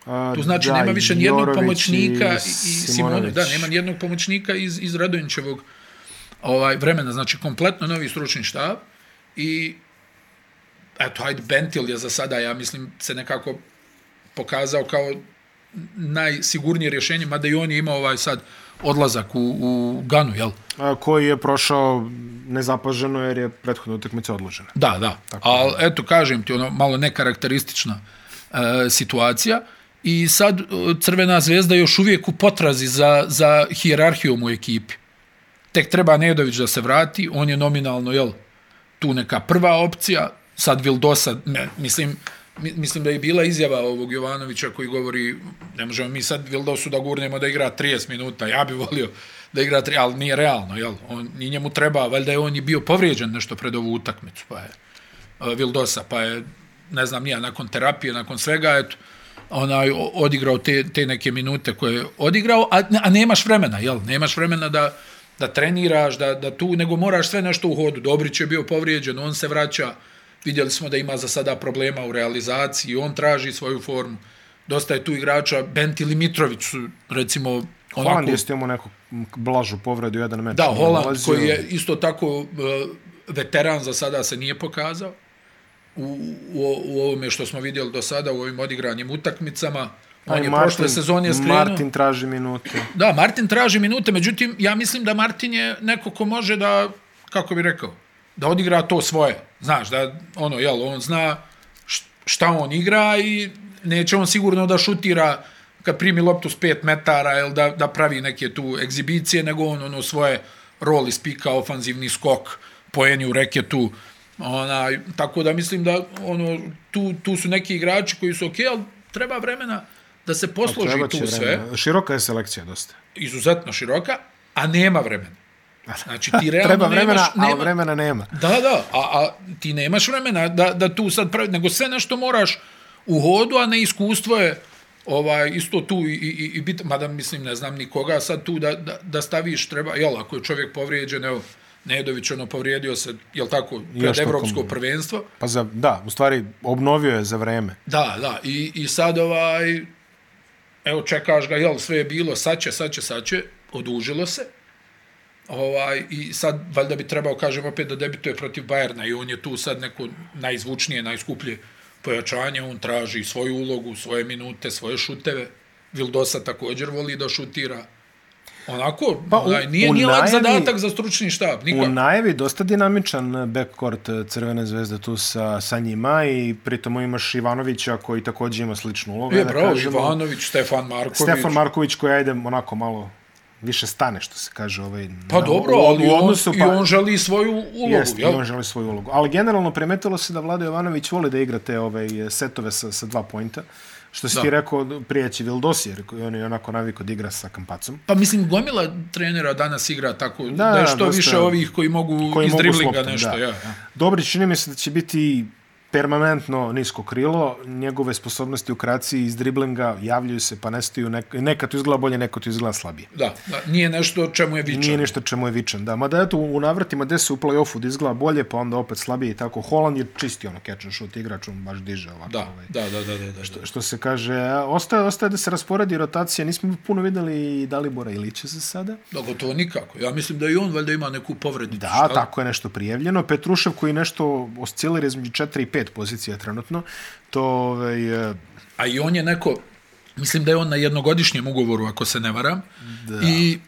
A,
To znači
da,
da, nema više nijednog
Jorović
pomoćnika i, i
Simonović.
Simonu, da, nema nijednog pomoćnika iz, iz Radonjićevog ovaj, vremena, znači kompletno novi stručni štab i eto, ajde, Bentil je za sada, ja mislim, se nekako pokazao kao najsigurnije rješenje, mada i on je imao ovaj sad odlazak u, u Ganu, jel?
A, koji je prošao nezapaženo jer je prethodna utakmica odložena.
Da, da. Ali eto, kažem ti, ono malo nekarakteristična e, situacija. I sad e, Crvena zvezda je još uvijek u potrazi za, za hijerarhijom u ekipi. Tek treba Nedović da se vrati, on je nominalno, jel, tu neka prva opcija, sad Vildosa, ne, mislim, mi- mislim da je bila izjava ovog Jovanovića koji govori, ne možemo mi sad Vildosu da gurnemo da igra 30 minuta, ja bi volio da igra 30, ali nije realno, jel? On, I njemu treba, valjda je on i bio povrijeđen nešto pred ovu utakmicu, pa je e, Vildosa, pa je, ne znam, nija, nakon terapije, nakon svega, eto, onaj o- odigrao te, te neke minute koje je odigrao, a, a nemaš vremena, jel? Nemaš vremena da, da treniraš, da, da tu, nego moraš sve nešto u hodu. Dobrić je bio povrijeđen, on se vraća, vidjeli smo da ima za sada problema u realizaciji, on traži svoju formu. Dosta je tu igrača, Bentil i Mitrović su, recimo, onako...
Holand je s tim u neku blažu povredu jedan meč.
Da,
Znači, Nije
Holand
ulazio.
koji je isto tako e, veteran za sada se nije pokazao u, u, u ovome što smo vidjeli do sada u ovim odigranim utakmicama.
Pa
On
i
je prošle sezone skrenuo.
Martin traži minute.
Da, Martin traži minute, međutim, ja mislim da Martin je neko ko može da, kako bi rekao, da odigra to svoje. Znaš, da, ono, jel, on zna š- šta on igra i neće on sigurno da šutira kad primi loptu s 5 metara, jel, da, da pravi neke tu egzibicije, nego on ono svoje rol iz pika, ofanzivni skok, poeni u reketu, onaj, tako da mislim da ono, tu, tu su neki igrači koji su okej, okay, ali treba vremena da se posloži
Treba
tu
će
sve
vremena. Široka je selekcija dosta.
izuzetno široka, a nema vremena. Znači ti realno
Treba vremena,
nemaš,
ali
nema,
vremena nema.
Da, da, a, a ti nemaš vremena da, da tu sad pravi, nego sve nešto moraš u hodu, a ne iskustvo je ovaj, isto tu i, i, i bit, mada mislim ne znam nikoga sad tu da, da, da staviš treba, jel, ako je čovjek povrijeđen, evo, Nedović ono povrijedio se, jel tako, pred
tokom-
evropsko prvenstvo,
Pa za, da, u stvari obnovio je za vreme.
Da, da, i, i sad ovaj, evo čekaš ga, jel, sve je bilo, sad će, sad će, sad će, odužilo se, ovaj, i sad valjda bi trebao, kažem opet, da debituje protiv Bajerna i on je tu sad neko najzvučnije, najskuplje pojačanje, on traži svoju ulogu, svoje minute, svoje šuteve, Vildosa također voli da šutira, onako,
Pa,
pa,
u-
onaj, nije,
u
nije lak
najavi-
zadatak za stručni štab,
U
nikako.
najavi dosta dinamičan backcourt Crvene zvezde tu sa, sa njima i pritom imaš Ivanovića koji također ima sličnu ulogu.
Je,
da
bravo,
kažemo.
Ivanović, Stefan Marković.
Stefan Marković koji ajde onako malo više stane što se kaže ovaj
Pa
na-
dobro,
u-
ali
u
on,
odnosu, pa
i on želi svoju ulogu,
Jest, i
jel?
on želi svoju ulogu. Ali generalno primetilo se da Vlada Jovanović voli da igra te ove setove sa, sa dva pojnta. Što si
Da.
ti rekao, prijeći Vildosi, jer on je onako navikao da igra sa Kampacom.
Pa mislim, gomila trenera danas igra tako, da,
da,
da je što
dosta-
više ovih koji mogu
Koji
koji iz
mogu s
driblinga
loptom,
nešto,
da.
da. ja.
Dobri, čini mi se da će biti permanentno nisko krilo, njegove sposobnosti u kreaciji iz driblinga javljaju se pa nestaju, nek, nekad tu izgleda bolje, nekad tu izgleda slabije.
Da, da, nije nešto čemu je vičan.
Nije nešto čemu je vičan, da. Mada eto, u navratima gde se u play-offu da izgleda bolje, pa onda opet slabije i tako. Holand je čisti ono catch and shoot igrač, on baš diže ovako.
Da,
ovaj.
da, da, da, da, da. Što,
Što se kaže, a, ostaje, ostaje da se rasporedi rotacija, nismo puno videli i Dalibora Ilića za sada.
da, gotovo nikako. Ja mislim da i on valjda ima neku povrednicu.
Da,
šta?
tako je nešto prijavljeno. Petrušev koji nešto oscilira između 4 i 5 pozicija trenutno, to ovaj, e,
A i on je neko, mislim da je on na jednogodišnjem ugovoru, ako se ne varam. Da. I,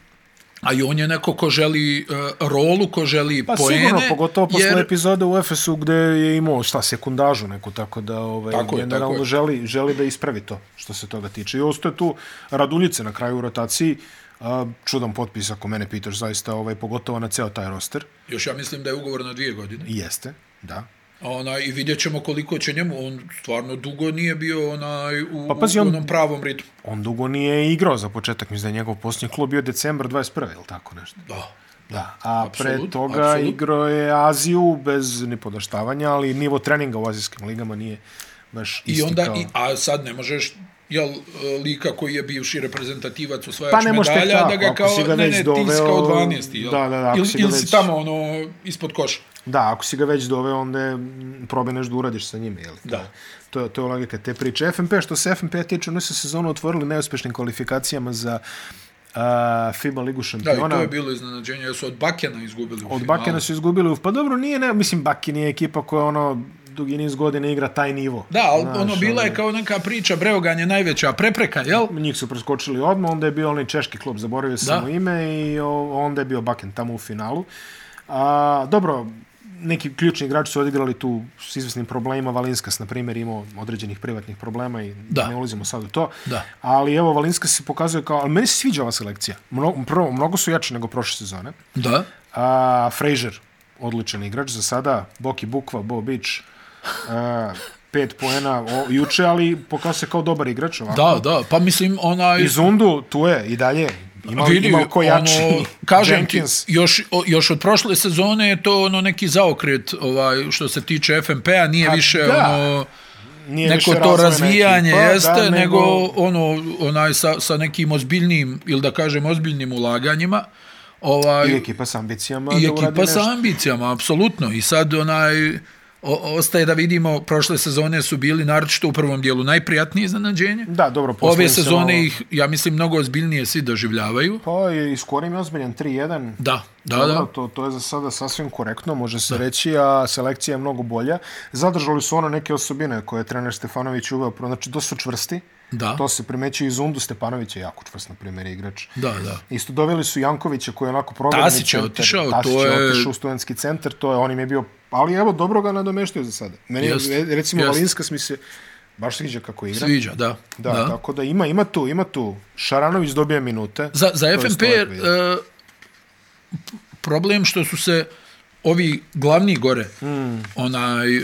a i on je neko ko želi uh, rolu, ko želi
pa
poene.
sigurno, pogotovo posle
jer-
epizode u Efesu gde je imao šta, sekundažu neku, tako da ovaj,
Tako je,
generalno
tako je.
želi, želi da ispravi to što se toga tiče. I ostaje tu Raduljice na kraju u rotaciji, a, čudan potpis ako mene pitaš zaista, ovaj, pogotovo na ceo taj roster.
Još ja mislim da je ugovor na dvije godine.
I Jeste, da.
A Ona, I vidjet ćemo koliko će njemu, on stvarno dugo nije bio onaj, u,
Pa pazi,
u
on-
onom pravom ritmu.
On dugo nije igrao za početak, mislim da je njegov posljednji klub bio decembar 21. ili tako nešto.
Da.
Da, a
Apsolut,
pre toga
apsolut.
igrao je Aziju bez ni podaštavanja, ali nivo treninga u azijskim ligama nije baš
I
isti
onda,
kao...
i, a sad ne možeš, jel, lika koji je bivši reprezentativac osvajač
Pa ne možeš tek
medalja,
tako,
da ga
ako
kao,
si ga
ne,
već
ne, ti si
doveo-
kao 12. Jel?
Da, da, da, ako
ili,
si ga
ili si
već-
tamo ono, ispod koša.
Da, ako si ga već doveo, onda je, m, probaj nešto da uradiš sa njime, jel?
Da.
To je, to je logika te priče. FNP, što se FNP tiče, oni su sezonu otvorili neuspešnim kvalifikacijama za a, FIBA ligu
Da, i
šampiona.
to je bilo iznenađenje, jer su od Bakena izgubili u
Od
finalu.
Bakena su izgubili, u- pa dobro, nije, ne, mislim, Bakin je ekipa koja ono, dugi niz godina igra taj nivo.
Da, ali
Znaš,
ono, bila je kao neka priča, Breogan je najveća prepreka, jel?
Njih su preskočili odmah, onda je bio onaj češki klub, zaboravio sam
Da.
mu ime i o- onda je bio Baken tamo u finalu. A, dobro, neki ključni igrači su odigrali tu s izvesnim problemima. Valinskas, na primjer, imao određenih privatnih problema i
Da.
ne ulazimo sad u to.
Da.
Ali evo, Valinskas se pokazuje kao... Ali meni se sviđa ova selekcija. Mno, prvo, mnogo su jači nego prošle sezone.
Da.
A, Frazier, odličan igrač za sada. Boki Bukva, Bo Beach, a, pet poena o, juče, ali pokazao se kao dobar igrač. Ovako.
Da, da, pa mislim, onaj...
I Zundu tu je i dalje. Ima, Vidi, ima ko jači.
Ono, kažem
Jenkins.
ti, još, o, još od prošle sezone je to ono neki zaokret ovaj, što se tiče FMP-a, nije
A,
više
da.
ono...
Nije više
neko to
razvojna
razvijanje
ekipa, da,
jeste, da, nego
nego-
ono, onaj sa, sa nekim ozbiljnim, ili da kažem ozbiljnim ulaganjima, ovaj,
I ekipa s ambicijama
I
da uradi
ekipa
nešto.
sa ambicijama, apsolutno. I sad onaj, o, ostaje da vidimo, prošle sezone su bili, naročito u prvom dijelu, najprijatnije iznenađenje.
Da, dobro,
Ove
poslije se malo-
sezone ih, ja mislim, mnogo ozbiljnije svi doživljavaju.
Pa je i skorim je ozbiljan 3-1.
Da, da,
Dobro,
da.
To, to je za sada sasvim korektno, može se reći, a selekcija je mnogo bolja. Zadržali su ono neke osobine koje je trener Stefanović uveo, pro- znači da su čvrsti,
Da,
to se primećuje iz Undu Stefanović je jako čvrst, na primjer, igrač.
da, da.
Isto doveli su Jankovića koji je onako provjereni
Tasić je
centar.
otišao,
Tasić
to je-
otišao u studentski centar, to je, on im je bio, ali evo, dobro ga nadomeštio za sada. Meni,
Jest,
je, e, recimo,
jest.
Valinskas mi se baš sviđa kako igra.
Sviđa, da.
Da, da, tako da ima, ima tu, ima tu. Šaranović dobija minute.
Za, za
je
FNP
stvar
je
koja
e, problem što su se ovi glavni gore
Hmm.
onaj e,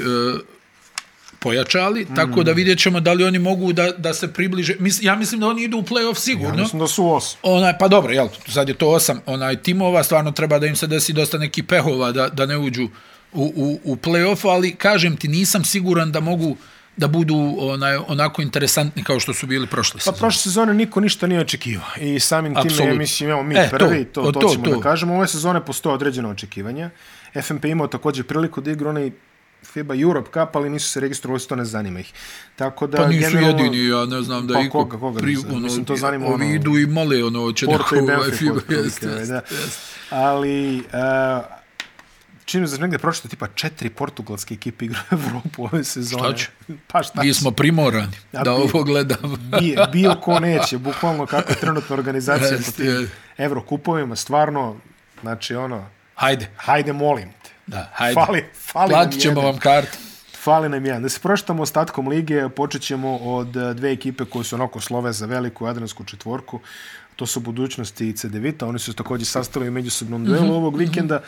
pojačali, tako da vidjet ćemo da li oni mogu da, da se približe. Mis, ja mislim da oni idu u play-off
Ja
sigurno.
mislim da su osam.
Onaj, pa dobro, jel, sad je to osam onaj, timova, stvarno treba da im se desi dosta neki pehova da, da ne uđu u, u, u play-off, ali kažem ti, nisam siguran da mogu da budu onaj, onako interesantni kao što su bili prošle
Pa
sezone.
prošle sezone niko ništa nije očekivao i samim time, ja
Apsolutno.
mislim, imamo mi
E,
e,
to,
prvi, to, to,
o,
to,
to,
ćemo
to.
da kažemo. Ove sezone postoje određene očekivanja. FNP je imao također priliku da igra onaj FIBA Europe Cup, ali nisu se registrovali, to ne zanima ih. Tako da,
Pa nisu
generalno,
jedini, ja ne znam da
Pa
je iko
koga, koga ne znam, mislim, to zanima
ovi
ono-
idu i male, ono, će
Porto i
neko, ovaj,
Benfica,
FIBA,
otprilike,
jeste,
ovaj, da.
jeste.
Ali, uh, čini mi se da sam negdje pročito, tipa četiri portugalske ekipe igra u Evropu ove sezone.
Šta će?
Pa šta
Mi
će?
smo primorani
A
da
bi-
ovo gledamo.
bio, bio ko neće, bukvalno kako je trenutna organizacija po
Jeste,
tim
jeste.
evrokupovima, stvarno, znači ono,
Hajde,
hajde molim te.
da, hajde.
Fali, fali nam
Platit ćemo
jedan.
vam kartu.
Fali nam jedan. Da se proštamo ostatkom lige, počet ćemo od e, dve ekipe koje su onako slove za veliku adransku četvorku. To su budućnosti i CDVita. Oni su se također sastavili u međusobnom
Mhm,
duelu ovog vikenda.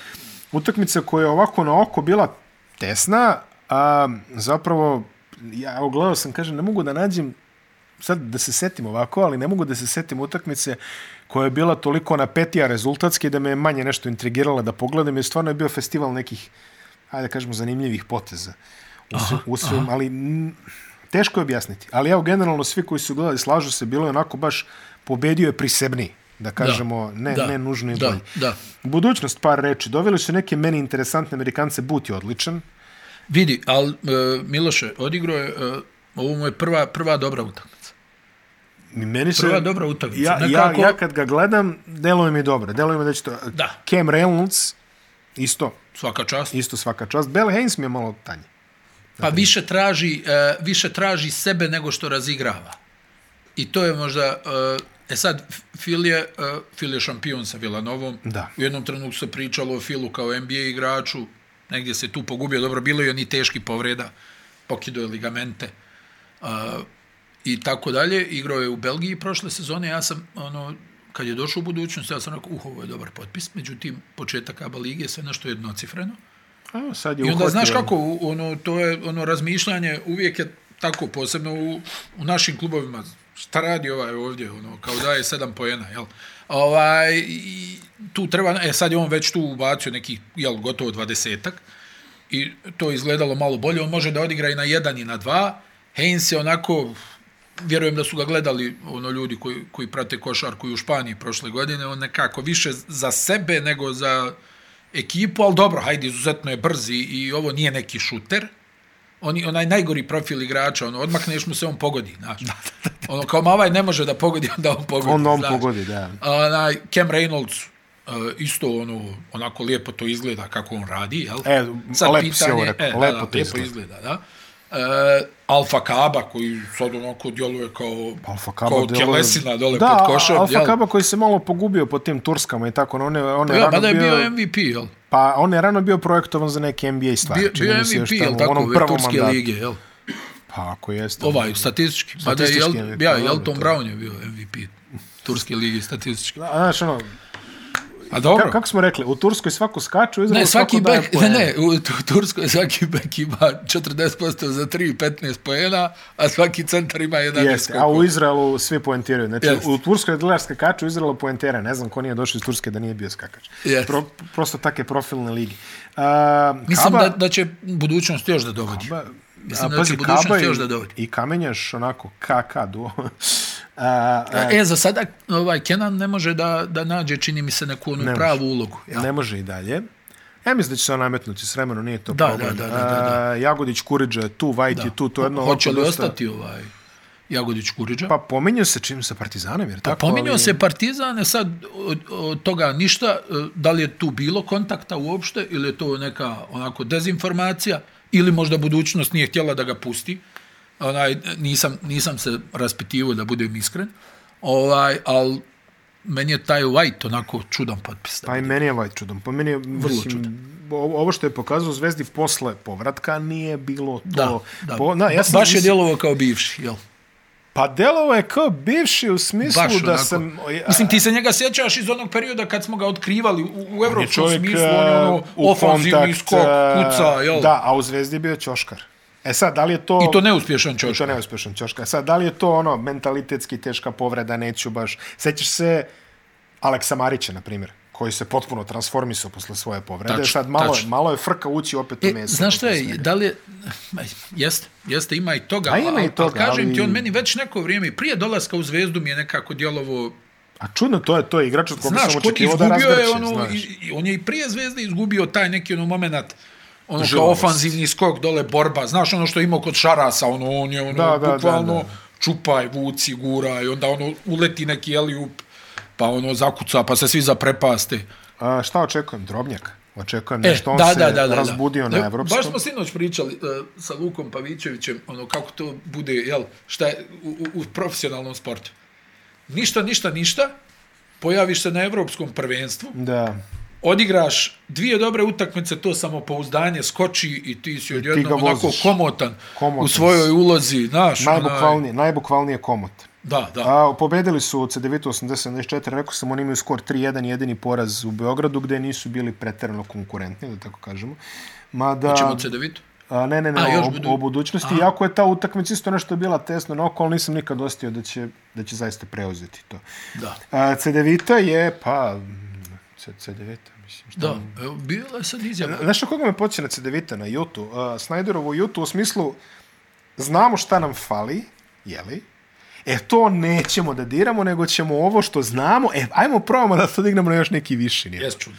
Utakmica koja je ovako na oko bila tesna, a zapravo ja evo, gledao sam, kažem, ne mogu da nađem sad da se setim ovako, ali ne mogu da se setim utakmice koja je bila toliko napetija rezultatski da me je manje nešto intrigirala da pogledam, jer stvarno je bio festival nekih, ajde da kažemo, zanimljivih poteza. U svim, u svim, ali mm, teško je objasniti. Ali evo, generalno, svi koji su gledali, slažu se, bilo je onako baš, pobedio je prisebniji, da kažemo, da, ne,
da,
ne nužno i
da,
bolji.
da.
Budućnost, par reči. Doveli su neke meni interesantne Amerikance, But je odličan.
Vidi, ali e, Miloše, odigrao je, e, ovo mu je prva, prva dobra utakmica.
Mi- Meni se,
Prva dobra utakmica.
Ja,
Nekako-
ja, ja kad ga gledam, deluje mi dobro. Deluje mi da će to...
Da.
Cam Reynolds, isto,
Svaka čast.
isto svaka čast. Bell Haynes mi je malo tanji.
Pa više traži, e, više traži sebe nego što razigrava. I to je možda... E, e sad, Phil je, e, Phil je šampion sa Villanovom.
Da.
U jednom trenutku se pričalo o Philu kao NBA igraču. Negdje se tu pogubio. Dobro, bilo je oni teški povreda. Pokido je ligamente. E, I tako dalje. Igrao je u Belgiji prošle sezone. Ja sam, ono, kad je došao u budućnost, ja sam rekao, uh, ovo je dobar potpis. Međutim, početak ABA lige je sve nešto jednocifreno.
A, sad je
I onda
uhvatio-
znaš kako, u- ono, to je ono razmišljanje, uvijek je tako, posebno u, u našim klubovima, šta radi ovaj ovdje, ono, kao da je sedam pojena, jel? Ovaj, i tu treba, e sad je on već tu ubacio nekih, jel, gotovo dvadesetak, i to je izgledalo malo bolje, on može da odigra i na jedan i na dva, Haynes je onako, vjerujem da su ga gledali ono ljudi koji, koji prate košarku i u Španiji prošle godine, on nekako više za sebe nego za ekipu, ali dobro, hajde, izuzetno je brz i, i ovo nije neki šuter, Oni, onaj najgori profil igrača, ono, odmakneš mu se, on pogodi, znaš. Ono, kao ma ovaj ne može da pogodi, onda on pogodi.
Onda on
znaš.
pogodi, da.
Onaj, Cam Reynolds, uh, isto ono, onako lijepo to izgleda kako on radi, jel?
E, lepo si ovo rekao, lepo to
lijepo
izgleda.
izgleda, e, da. E, Alfa Kaba koji sad onako djeluje kao,
Alfa Kaba
kao
deluje-
tjelesina dole
da,
pod košom.
a- Alfa
jel? Pa
Kaba koji se malo pogubio po tim Turskama i tako, on je, on je
Ja,
rano
mada je
bio,
bio MVP, jel?
pa on je rano bio projektovan za neke NBA stvari.
Bio,
čini
bio
mi se još
MVP, jel
tamo u
tako,
onom
ove
prvom
Turske
mandatu.
lige, jel?
Pa ako jeste.
Ovaj, statistički. Mada je, jel,
Statistički MVP,
ja,
dobro,
Elton
to.
Brown je bio MVP Turske lige statistički.
A, znaš, ono,
A dobro.
ka, kako smo rekli, u Turskoj svako skače, u Izraelu
Ne, svaki
svako daje
bek, ne,
poen.
ne, u Tu- Turskoj svaki bek ima 40% za 3 i 15 poena, a svaki centar ima 11
Jeste, a u Izraelu svi poentiraju. Znači,
Jeste.
u Turskoj je gledar skakač, u Izraelu poentira. Ne znam ko nije došao iz Turske da nije bio skakač.
Jeste.
Pro, prosto take profilne ligi. Uh,
Mislim
Kaba,
da, da će budućnost još da dovodi.
Ba,
Mislim da će budućnost još da dođe.
i Kamenjaš onako KK duo. a, a,
E, za sada ovaj, Kenan ne može da, da nađe, čini mi se, neku onu
može.
pravu ulogu. Ja.
ne može i dalje. Ja mislim da će se on nametnuti s vremenom, nije to
Da,
problem.
da, da, da, da,
A, Jagodić Kuriđa je tu, Vajt je Znači, tu, to je jedno...
Hoće
ovako
li
dosta-
ostati ovaj Jagodić Kuriđa?
Pa pominju se čim sa Partizanom, jer tako?
Pominjao Pa se Partizane, sad od, od toga ništa, e, da li je tu bilo kontakta uopšte ili je to neka onako dezinformacija ili možda budućnost nije htjela da ga pusti. Onaj, nisam, nisam se raspitivao da budem iskren. Ovaj, al meni je taj White onako čudan potpis.
Pa i meni je ovaj čudan. Pa meni je, Vrlo mislim,
čudan.
Ovo ovo što je pokazao Zvezdi posle povratka nije bilo to.
Da, da.
Po, na, ja sam,
Baš je
mislim-
djelovao kao bivši, jel?
Pa delovo je kao bivši u smislu
Baš
da
onako.
sam...
Mislim, ti se njega sjećaš iz onog perioda kad smo ga otkrivali u, u evropskom
čovjek,
smislu, on je ono
e, u
ofanzivni
kontakt,
skok,
e,
kuca, jel?
Da, a u Zvezdi je bio Ćoškar. E sad, da li je to...
I to neuspješan
I
čovjek.
to neuspješan Ćoškar. Sad, da li je to ono mentalitetski teška povreda, neću baš... Sećaš se Aleksa Marića, na primjer, koji se potpuno transformisao posle svoje povrede.
Tačno,
sad malo, je,
tačno.
malo je frka ući opet u
E,
meso.
znaš šta
posle
je,
svega.
da li je, ma, jeste, jeste, ima i toga,
A Pa ima i
ali-
toga,
ali kažem
ali-
ti, on meni već neko vrijeme, i prije dolaska u Zvezdu mi je nekako djelovo,
A čudno, to je to je igrač od koga
znaš,
sam
kod
očekivao da
izgubio
razgrče,
je ono,
znaš.
i, i on je i prije Zvezde izgubio taj neki ono moment, ono kao
Živost.
ofanzivni skok, dole borba, znaš ono što je imao kod Šarasa, ono, on je ono,
Da, da, da,
bukvalno,
da.
čupaj, vuci, guraj, onda ono, uleti neki elijup, pa ono, zakuca, pa se svi zaprepaste.
A, šta očekujem? Drobnjak. Očekujem
E,
nešto, on
da,
se
da, da, da,
razbudio
da.
na evropskom.
Baš smo sinoć pričali uh, sa Lukom Pavićevićem, ono, kako to bude, jel, šta je u, u, u profesionalnom sportu. Ništa, ništa, ništa, pojaviš se na evropskom prvenstvu,
Da,
odigraš dvije dobre utakmice, to samopouzdanje skoči i ti si
ga
odjednom onako
voziš.
komotan,
Komotan
u
si.
svojoj ulozi, znaš, onaj,
najbukvalnije, najbukvalnije komot.
da, da.
A, pobedili su od CDVita 80-84, rekao sam, oni imaju skor 3-1, jedini poraz u Beogradu, gde nisu bili preterano konkurentni, da tako kažemo. Mada,
Ćemo CDVitu.
a, ne, ne, ne,
A,
o,
još
o,
budu-
budućnosti,
Aha.
iako je ta utakmica isto nešto bila tesno na oko, ali nisam nikad ostio da će, da će zaista preuzeti to.
Da.
A, CDVita je, pa, mm, C- CDVita, mislim, šta
Da, evo, bila je sad izjava.
Znaš na koga me podsjeća na CDVita, na Jutu? Uh, Snyderovu Jutu u smislu znamo šta nam fali, jeli? E to nećemo da diramo, nego ćemo ovo što znamo, e, ajmo probamo da to dignemo na još neki viši nivo.
Jes čudno.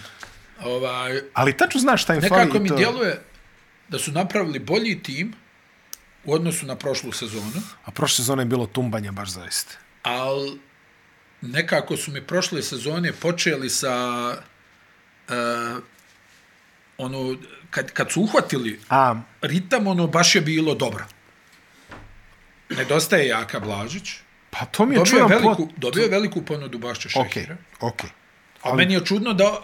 Ovaj,
Ali tačno znaš šta im
E, Nekako
fali. i
mi
to...
djeluje da su napravili bolji tim u odnosu na prošlu sezonu,
A prošle sezone je bilo tumbanja baš zaista.
ali nekako su mi prošle sezone počeli sa e, ono, kad, kad su uhvatili
A,
ritam, ono baš je bilo dobro. Nedostaje Jaka Blažić,
pa to mi je
dobio je
čudan
veliku,
pot...
dobio je veliku ponudu Bašća
Okej,
Šehira.
okej.
A meni je čudno da uh,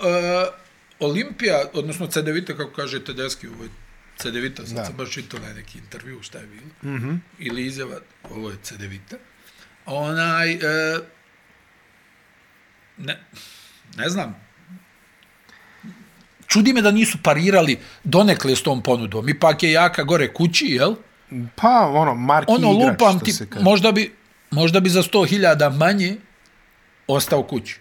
Olimpija, odnosno CDVita, kako kaže Tedeski, ovo je CDVita, sad
Da.
da. sam baš čitao na neki intervju, šta je bilo, mm -hmm. ili izjava, ovo je CDVita, onaj, uh, ne, ne znam, čudi me da nisu parirali donekle s tom ponudom, ipak je jaka gore kući, jel?
Pa, ono, marki
Ono,
igrač,
lupam
što
ti,
se kaže.
možda bi, možda bi za 100.000 manje ostao kući.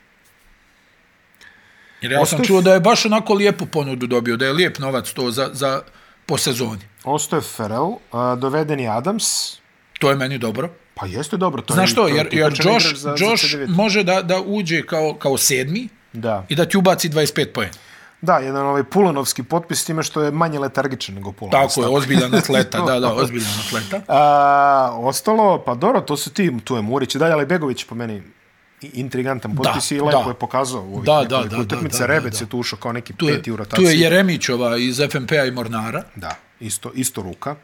Jer ja
Ostao
sam
je-
čuo da je baš onako lijepu ponudu dobio, da je lijep novac to za, za po sezoni.
Ostao je Ferrell, uh, doveden je Adams,
To je meni dobro.
pa jeste dobro. To
Znaš
je,
što,
to je
jer, jer
tipičan
Josh,
igrač za,
Josh
za CDVita.
može da, da uđe kao, kao sedmi
Da.
i da ti ubaci 25 pojena.
Da, jedan ovaj pulanovski potpis s time što je manje letargičan nego pulanov.
Tako je, ozbiljan atleta, da, da, ozbiljan atleta.
A, ostalo, pa dobro, to su ti, tu je Murić i dalje, ali Begović je po meni i- intrigantan potpis
Da,
i lepo
da.
je pokazao u ovih
Da,
nekoliko
da, da, da,
utakmica.
da, da,
Rebec
da.
je tu ušao kao neki
Tu je,
peti u
tu
rotaciji.
je Jeremićova iz FNP-a i Mornara,
Da, isto, isto ruka,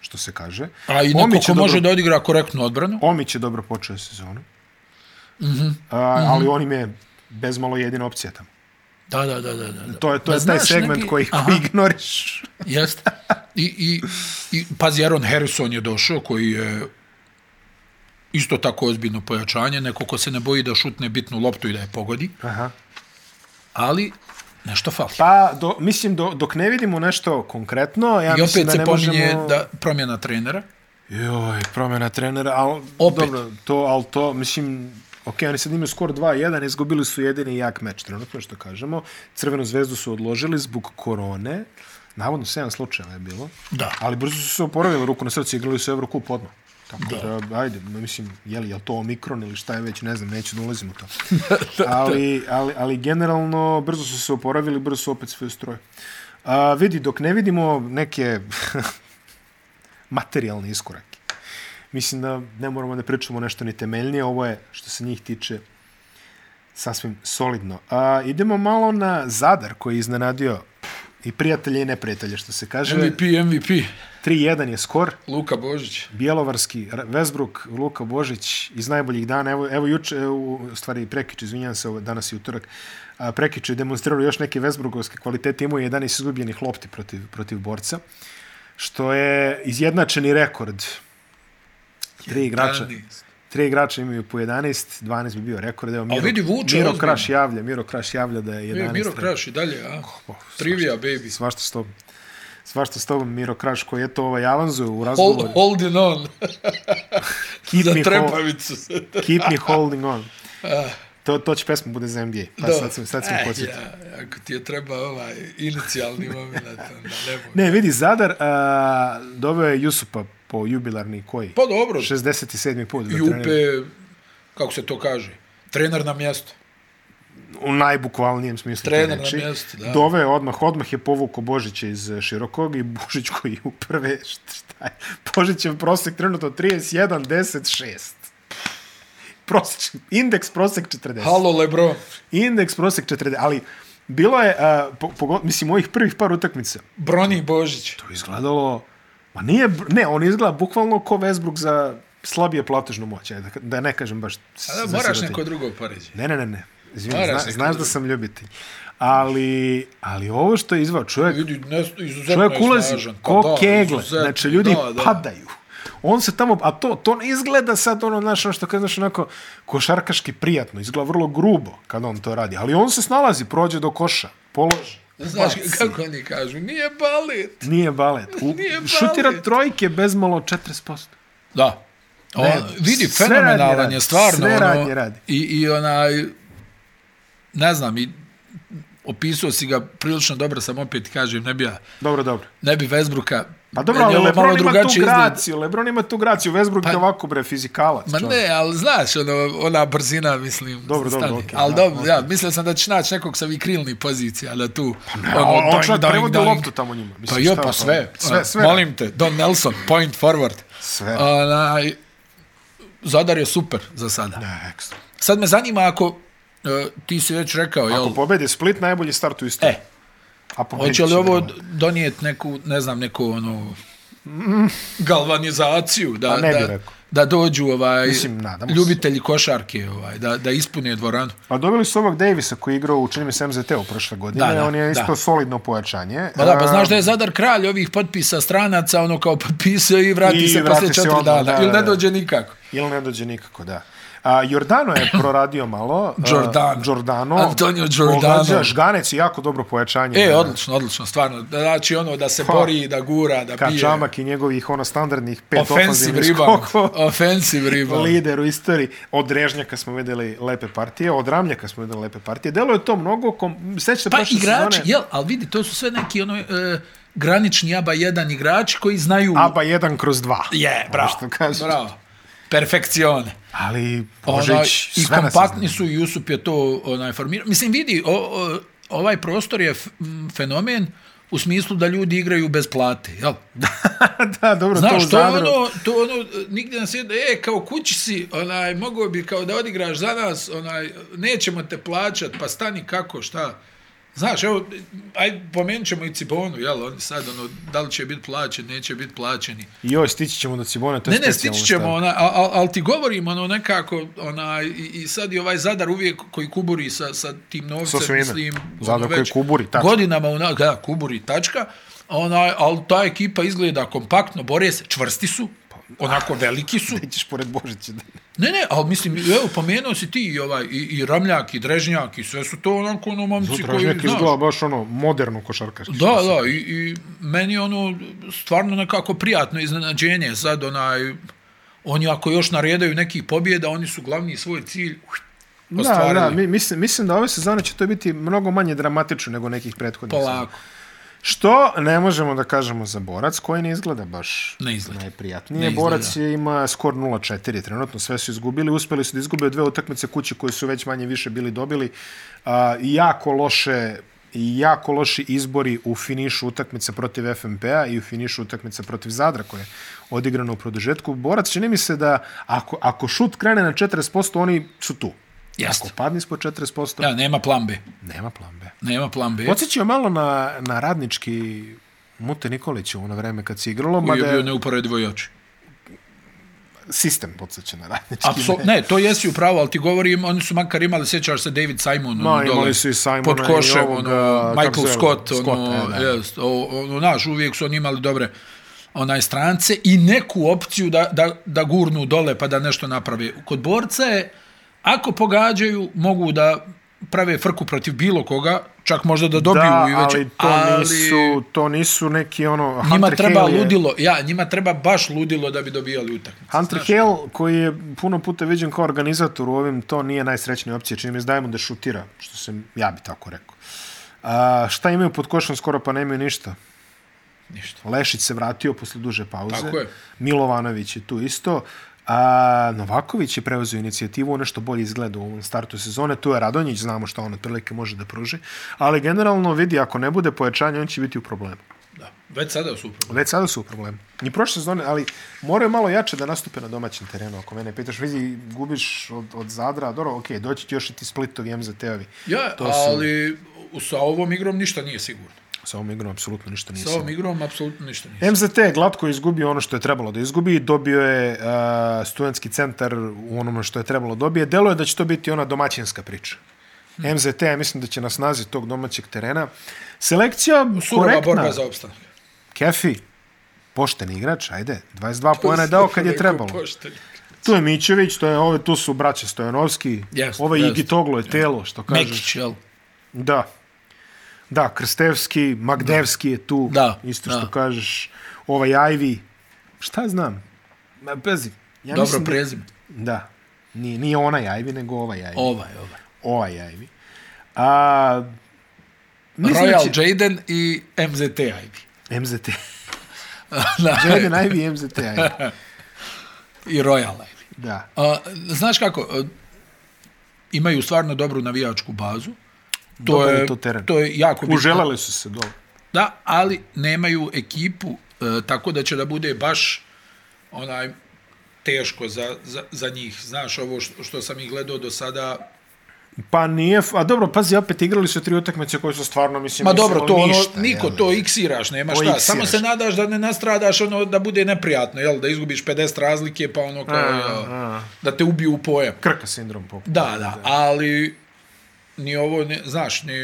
što se kaže.
a i neko
Omić
ko
je
može
dobro,
da odigra korektnu odbranu.
Omić je dobro počeo sezonu. Mm
Mhm,
-hmm. A, ali on im je bezmalo jedina opcija tamo.
Da, da, da, da. da.
To je, to je
Da
taj
znaš
segment
neki-
koji,
Aha.
koji ignoriš.
Jeste. I, i, i pazi, Aaron Harrison je došao koji je isto tako ozbiljno pojačanje, neko ko se ne boji da šutne bitnu loptu i da je pogodi,
Aha.
ali nešto fali.
Pa, do, mislim, do, dok ne vidimo nešto konkretno, ja
I
mislim
opet
da
se
ne
pominje
možemo...
da promjena trenera.
Joj, promjena trenera, ali
Opet.
dobro, to, ali to, mislim, ok, oni sad imaju skor 2-1, izgubili su jedini jak meč, trenutno što kažemo. Crvenu zvezdu su odložili zbog korone, Navodno 7 slučajeva je bilo.
Da.
Ali brzo su se oporavili ruku na srce i igrali su Eurocup odmah. Tako da. da, ajde, mislim, je li, je li to omikron ili šta je već, ne znam, neću da ulazim u to. ali, ali, ali generalno, brzo su se oporavili, brzo su opet sve u stroju. A, vidi, dok ne vidimo neke materijalne iskorake, mislim da ne moramo da pričamo nešto ni temeljnije, ovo je, što se njih tiče, sasvim solidno. A, idemo malo na Zadar koji je iznenadio i prijatelje i neprijatelje, što se kaže.
MVP, MVP.
3-1 je skor.
Luka Božić.
Bjelovarski, Ra- Vesbruk, Luka Božić iz najboljih dana. Evo, evo juče, u u stvari prekič, izvinjam se, ovo je danas je utorak, a, prekič je demonstrirao još neke Vesbrukovske kvalitete. Imao je 11 izgubljenih lopti protiv, protiv borca, što je izjednačeni rekord. Tri igrača.
E,
Tri igrača imaju po 11, 12 bi bio rekord. Evo, Miro,
vidi, vuče
Miro
ozbiljno.
Kraš javlja, Miro Kraš javlja da je 11.
E, Miro
rekord.
Kraš i dalje, a?
Oh,
Trivia, baby.
Svašta s tobom. Svašta s tobom, Miro Kraš, koji je to ovaj avanzuje u
Hold,
razgovoru.
holding on.
Keep,
Za
me hold,
trepavicu.
keep me holding on. To, to će pesma bude za NBA. Pa sad sam, sad sam
Ah. E,
podsjetio.
ja, ako ti je treba ovaj inicijalni moment, onda nemoj.
Ne, vidi, Zadar a, doveo je Jusupa po jubilarni koji?
Pa dobro,
67. put. da trenira.
Jupe, kako se to kaže, trener na mjesto.
U najbukvalnijem smislu. te
Trener na
reči.
mjestu, da.
Doveo je odmah, odmah je povuko Božića iz eh, Širokog i Božić koji je u prve, šta- šta je, Božić je prosek trenutno 31, 10, 6. Prosječni, indeks prosek 40.
Halo Lebron,
Indeks prosek 40, ali bilo je, a, po, po, mislim, ovih prvih par utakmica,
Broni Božić.
to je izgledalo, ma nije, br- ne, on izgleda bukvalno ko Westbrook za slabije platežnu moć, ajde, da, da ne kažem baš. s-
A da,
za
moraš
sirotinje.
neko drugo poređenje.
Ne, ne, ne, ne, izvini,
Moraš
zna,
neko
znaš da
drugo.
sam ljubitelj. Ali, ali ovo što je izvao čovjek,
Vidi, ne, izuzetno
čovjek
je
ulazi
snažan. Pa
ko
da,
kegle,
izuzetno,
znači ljudi
da, da.
padaju. On se tamo, a to, to ne izgleda sad ono, znaš, ono što kada, znaš, onako košarkaški prijatno, izgleda vrlo grubo kada on to radi, ali on se snalazi, prođe do koša, položi.
Znaš
ubaci.
kako oni kažu, nije balet.
Nije balet. U,
Nije balet.
Šutira trojke bez malo 40%.
Da. On,
Ne,
vidi,
sve radnje
fenomenalan
radi,
je stvarno.
sve radnje
ono,
radi.
I, I onaj, ne znam, i opisao si ga prilično dobro, sam opet kažem, ne bi, ja,
Dobro, dobro.
ne bi Vesbruka,
Pa dobro,
meni
ali
ovo
Lebron ima tu
drugačije izgleda. Pa-
graciju. Lebron ima tu graciju. Westbrook je ovako, bre, fizikalac.
Ma
čovjek.
ne, ali znaš, ono, ona brzina, mislim,
Dobro, dobro,
stani.
okej,
ali
da,
dobro, ja, mislio sam da će naći nekog sa ovih krilnih pozicija, ali da tu, ono,
Ne, a on čak prevodi loptu tamo njima.
Pa
Mislim,
jo,
šta
pa
je ono?
sve.
Sve, sve.
Molim te, Don Nelson, point forward.
Sve.
Onaj, Zadar je super za sada.
Ne, ekstra.
Sad me zanima ako, e, ti si već rekao, jel,
Ako pobedi Split, najbolji start u istoriji.
e,
A pobedit
hoće li
će,
ovo
verovatno.
donijeti neku, ne znam, neku, ono, galvanizaciju, da,
Mm. Pa ne bi
da,
rekao.
da dođu ovaj
Mislim, nadamo se.
ljubitelji košarke ovaj da da ispune dvoranu.
Pa dobili su ovog Davisa koji je igrao u čini mi se MZT-u prošle godine.
Da, da,
on je isto
da.
solidno pojačanje.
Pa da, pa znaš da je Zadar kralj ovih potpisa stranaca, ono kao potpisao i vrati
I
se
vrati
posle
se
četiri
odmah,
dana.
da,
ili ne
da.
dođe nikako.
Ili ne dođe nikako, da. A, Jordano je proradio malo. a,
Giordano.
Giordano.
Antonio Giordano.
Pogađa, Žganec je jako dobro pojačanje.
E,
Da.
odlično, odlično, stvarno. Da, Znači ono da se
Pa.
bori, da gura, da bije.
Kačamak i njegovih ono standardnih pet
Offensive
ofanzivnih
rebound.
skokova.
Offensive rebound.
Lider u istoriji. Od Režnjaka smo videli lepe partije, od Ramljaka smo videli lepe partije. Delo je to mnogo, kom... seća se
Pa
prošle
igrači,
sezone,
jel, ali vidi, to su sve neki ono, e, granični ABA 1 igrači koji znaju...
ABA 1 kroz 2.
Je, bravo,
Što kažeš.
bravo. Perfekcione.
Ali Božić,
Onaj, I
sve nas
kompaktni
iznenadi.
su, Jusup je to onaj, formirao. Mislim, vidi, o, o, ovaj prostor je f- m, fenomen u smislu da ljudi igraju bez plate, jel?
da, dobro, to u
Znaš, to je
Zadru.
ono, to je ono, e, nigdje nas je, e, kao kući si, onaj, mogao bi kao da odigraš za nas, onaj, nećemo te plaćat, pa stani kako, šta. Znaš, evo, aj, pomenut ćemo i Cibonu, jel, oni sad, ono, da li će biti plaćen, neće biti plaćeni.
Joj, stići ćemo do Cibone, to je
Ne, ne,
specijalno
stići ćemo, ono-
stvar.
ona, al, al ti govorim, ono, nekako, ona, i, i sad i ovaj Zadar uvijek koji kuburi sa, sa tim novcem,
Sa svime.
mislim,
Zadar
ono,
koji
već
kuburi, tačka.
Godinama, ona, da, kuburi, tačka, ona, ali ta ekipa izgleda kompaktno, bore se, čvrsti su, onako veliki su.
Ićeš pored Božića. Da.
Ne, ne, ali mislim, evo, pomenuo si ti i, ovaj, i, i Ramljak, i Drežnjak, i sve su to onako ono momci koji,
Tražnjak izgleda baš ono moderno košarkaški.
Da, da, i, i meni je ono stvarno nekako prijatno iznenađenje. Sad onaj, oni ako još naredaju nekih pobjeda, oni su glavni svoj cilj uh,
Da,
ostvarili.
da, mi, mislim, mislim da ove sezone će to biti mnogo manje dramatično nego nekih prethodnih. sezona.
Polako.
Što ne možemo da kažemo za borac koji ne izgleda baš
Ne izgleda.
najprijatnije.
Ne izgleda.
borac je, ima skor 0-4 trenutno, sve su izgubili, uspeli su da izgube dve utakmice kući koje su već manje više bili dobili. A, jako loše jako loši izbori u finišu utakmice protiv FMP-a i u finišu utakmice protiv Zadra koje je odigrano u produžetku. Borac čini mi se da ako, ako šut krene na 40%, oni su tu.
Jeste.
Ako padne ispod 40%,
Da, nema plan B.
nema plan B.
Nema plan B.
Podsjećao malo na, na radnički Mute Nikolića u ono vreme kad se igralo,
koji je
mada
bio
je
neuporedivo jači.
sistem podsjeća na radnički.
Apsol, ne, to jesi upravo, ali ti govorim, oni su makar imali, sjećaš se David Simon,
Ma,
ono,
imali
dole,
su i Simona
pod
i
košem,
ovoga,
ono,
kako
Michael
se zove,
Scott, ono,
Scott, e, da.
jest, o, ono, naš, uvijek su oni imali dobre onaj strance i neku opciju da, da, da gurnu dole pa da nešto naprave. Kod borca je, ako pogađaju, mogu da prave frku protiv bilo koga, čak možda da dobiju
da,
i već,
ali to, nisu, to nisu neki ono...
njima
Hunter
treba
Hale je-
ludilo, ja, njima treba baš ludilo da bi dobijali utakmicu.
Hunter Hale, koji je puno puta viđen kao organizator u ovim, to nije najsrećnija opcija, čini mi se dajemo da šutira, što sam, ja bi tako rekao. A, šta imaju pod košom skoro pa nemaju ništa.
Ništa.
Lešić se vratio posle duže pauze.
Tako je.
Milovanović je tu isto. A, Novaković je preuzeo inicijativu, ono što bolje izgleda u ovom startu sezone, tu je Radonjić, znamo što on otprilike može da pruži, ali generalno vidi, ako ne bude pojačanja, on će biti u problemu.
Da. Već sada su upravo.
Već sada su u problemu. Ni prošle sezone, ali moraju malo jače da nastupe na domaćem terenu, ako mene pitaš, vidi, gubiš od, od Zadra, dobro, okej, doći će još i ti Splitovi, MZT-ovi.
Ja,
To su-
ali u- sa ovom igrom ništa nije sigurno.
Sa ovom igrom apsolutno ništa
Sa
nisam.
ovom igrom apsolutno ništa nije.
MZT je glatko izgubio ono što je trebalo da izgubi, dobio je uh, studentski centar u onome što je trebalo dobije. Delo je da će to biti ona domaćinska priča.
Hmm.
MZT, ja mislim da će na snazi tog domaćeg terena. Selekcija
Surova
korektna.
borba za opstanak.
Kefi, pošten igrač, ajde. 22 poena je dao kad je
Uvijek
trebalo.
pošteni.
Tu je Mićević, to je, ove, tu su braće Stojanovski,
Jest,
ovaj
jest.
Igitoglo je telo, što kažeš.
Mekić, jel?
Da. Da, Krstevski, Magdevski je tu.
Da,
Isto
da.
što kažeš. Ovaj Ajvi. Šta znam? Ma, Bezi. Ja
Dobro
mislim da-
prezime.
Da. Nije, nije onaj Ajvi, nego ovaj Ajvi.
Ovaj, ovaj.
Ovaj Ajvi. A, mislim da
Royal
će-
Jaden i MZT IB.
MZT.
Da,
Jaden Ajvi, MZT Ajvi.
I Royal IB.
Da.
A, znaš kako, a, imaju stvarno dobru navijačku bazu. To
Dobar je
je,
to teren.
to je jako bitno.
Uželeli su se dole.
Da, ali nemaju ekipu e, tako da će da bude baš onaj teško za, za, za njih. Znaš, ovo što, što sam ih gledao do sada,
Pa nije, f- a dobro, pazi, opet igrali su tri utakmice koje su stvarno, mislim,
ma
nisu
dobro,
imali
to ono,
ništa,
niko
jel?
to iksiraš, nema
To
šta.
iksiraš.
Samo se nadaš da ne nastradaš, ono, da bude neprijatno, jel, da izgubiš 50 razlike, pa ono, kao, jel,
a.
da te ubiju u pojam.
Krka sindrom popu.
Da, da, ali ni ovo, ne, znaš, ni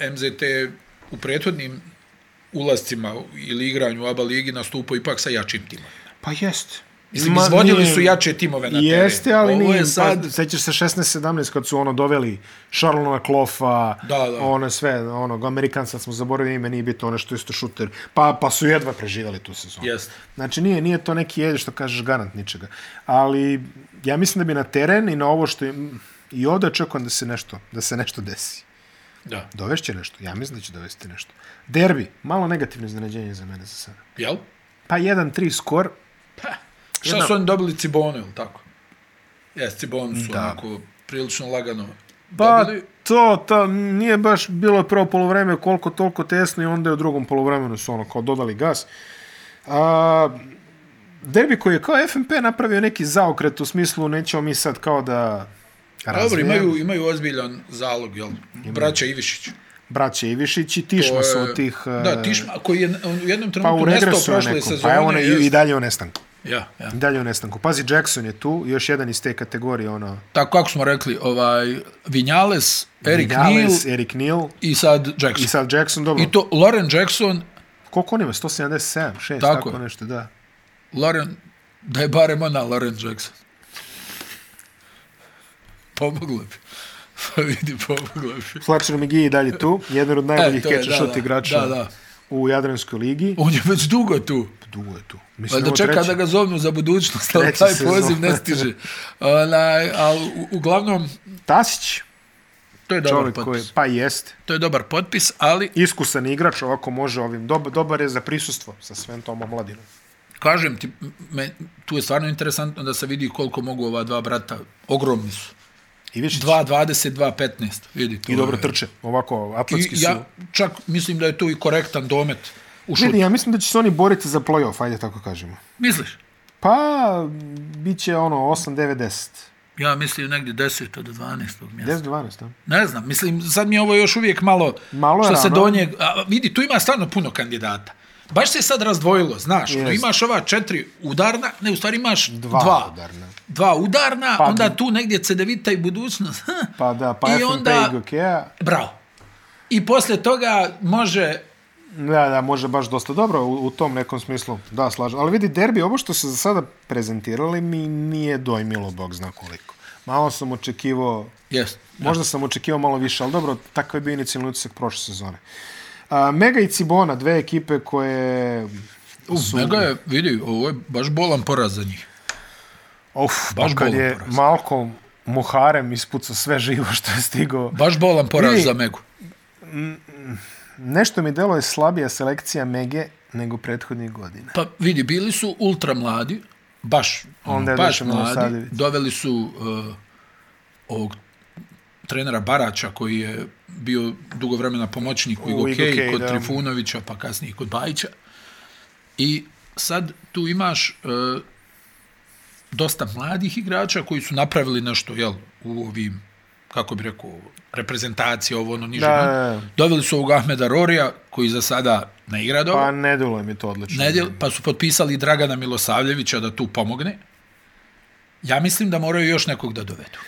e, MZT u prethodnim ulascima ili igranju u ABA ligi nastupao ipak sa jačim timom.
Pa jeste.
Mislim,
Ma,
izvodili
nije-
su jače timove na terenu.
Jeste, ali
Ovo
nije,
je sad...
sad... pa, sećaš se 16-17 kad su ono doveli Šarlona Klofa,
Da, da.
ono sve, ono, Amerikanca smo zaboravili ime, nije bitno ono što je isto šuter, pa, pa su jedva preživali tu sezonu.
Jeste.
Znači nije, nije to neki jed što kažeš garant ničega, ali ja mislim da bi na teren i na ovo što je, i ovdje očekujem da se nešto, da se nešto desi.
Da.
Dovešće nešto, ja mislim da će dovesti nešto. Derbi, malo negativno iznenađenje za mene za sada.
Jel?
Pa 1-3 skor,
Pa. Šta
Jedna-
su oni dobili Cibonu, ili tako? Jes, Cibonu su
Da.
onako prilično lagano
Pa
dobili.
to, to nije baš bilo prvo polovreme koliko toliko tesno i onda je u drugom polovremenu su ono kao dodali gas. A, derbi koji je kao FNP napravio neki zaokret u smislu nećemo mi sad kao da
Dobro,
razvijemo
imaju, imaju ozbiljan zalog, jel? Braća Ivišić.
braće Ivišić i Tišma
To
su
je-
od tih... e,
Da, Tišma, koji je on u jednom
Pa
trenutku
u
nestao
regresu je
prošle
neko,
sezone.
pa je on i,
jest.
i dalje u nestanku.
Ja, ja.
I dalje u nestanku. Pazi, Jackson je tu, još jedan iz te kategorije, ono...
Tako kako smo rekli, ovaj, Vinjales, Erik Neal
Vinales, Erik Neal
i sad
i
Jackson.
sad Jackson, dobro.
I to Loren Jackson,
Koliko on ima? 177,
Tako
6, tako
je.
nešto, da.
Loren, da je barem ona Loren Jackson. Pomoglo bi. Pa vidi, pomoglo bi.
Fletcher McGee je dalje tu, jedan od najboljih
E, to je,
catch and
da,
shoot
da.
igrača
Da, da.
u Jadranskoj ligi.
On je već dugo tu.
Dugo je tu. Mislim,
Valjda
ovo
čeka
treće.
da ga zovnu za budućnost, ali
Treća
taj
sezona.
poziv ne stiže. Onaj, ali u- uglavnom,
Tasić,
To je dobar
Čovjek
potpis.
koji, pa jeste,
To je dobar potpis, ali
iskusan igrač, ovako može ovim, dob, dobar je za prisustvo sa svem tom omladinom.
kažem ti, me, tu je stvarno interesantno da se vidi koliko mogu ova dva brata. Ogromni su.
I više
2.20, 2.15, vidi. to
i dobro
je-
trče, ovako
I
atletski
ja
su.
čak mislim da je to i korektan domet u šutu.
Vidi, ja mislim da će se oni boriti za play-off, ajde tako kažemo.
Misliš?
Pa, bit će ono 8, 9, 10.
Ja mislim negdje 10. do 12. mjesta.
10, 12, da.
Ne znam, mislim, sad mi je ovo još uvijek malo,
Malo je
što se
rano.
donje... A, vidi, tu ima stvarno puno kandidata. Baš se sad razdvojilo, znaš, ono,
Jest.
imaš ova četiri udarna, ne, u stvari imaš dva,
Dva,
dva,
udarna.
dva udarna,
Pa-
onda tu negdje Cedevita i budućnost.
Pa da, pa
I
FNP
onda-
i Gokea.
Bravo. I posle toga može
Da, da, može baš dosta dobro u, u tom nekom smislu. Da, slažem. Ali vidi, derbi, ovo što se za sada prezentirali mi nije dojmilo, bog zna koliko. Malo sam očekivao,
Jest.
možda sam očekivao malo više, ali dobro, takav je bio inicijalni utisak prošle sezone. A, Mega i Cibona, dve ekipe koje... su-
Mega je, vidi, ovo je baš bolan poraz za njih.
Of,
baš
baš kad
bolan
je
poraz.
Malcolm Muharem ispucao sve živo što je stigao.
Baš bolan poraz
Vidi.
za Megu.
Nešto mi delo je slabija selekcija Mege nego prethodnih godina.
Pa vidi, bili su ultra mladi, baš, ono,
Onda je
baš
došao
mladi.
Milosavljević.
Doveli su uh, ovog trenera Barača koji je bio dugo vremena pomoćnik u
U
Igokeji
Igokeji,
kod
da.
Trifunovića, pa kasnije kod Bajića. I sad tu imaš uh, dosta mladih igrača koji su napravili nešto jel, u ovim, kako bi rekao, reprezentacije, ovo ono niže.
Da,
no.
da, da.
Doveli su ovog Ahmeda Rorija koji za sada ne igra dobro
Pa ne delo je mi to odlično.
nedjel, pa su potpisali Dragana Milosavljevića da tu pomogne. Ja mislim da moraju još nekog da dovedu.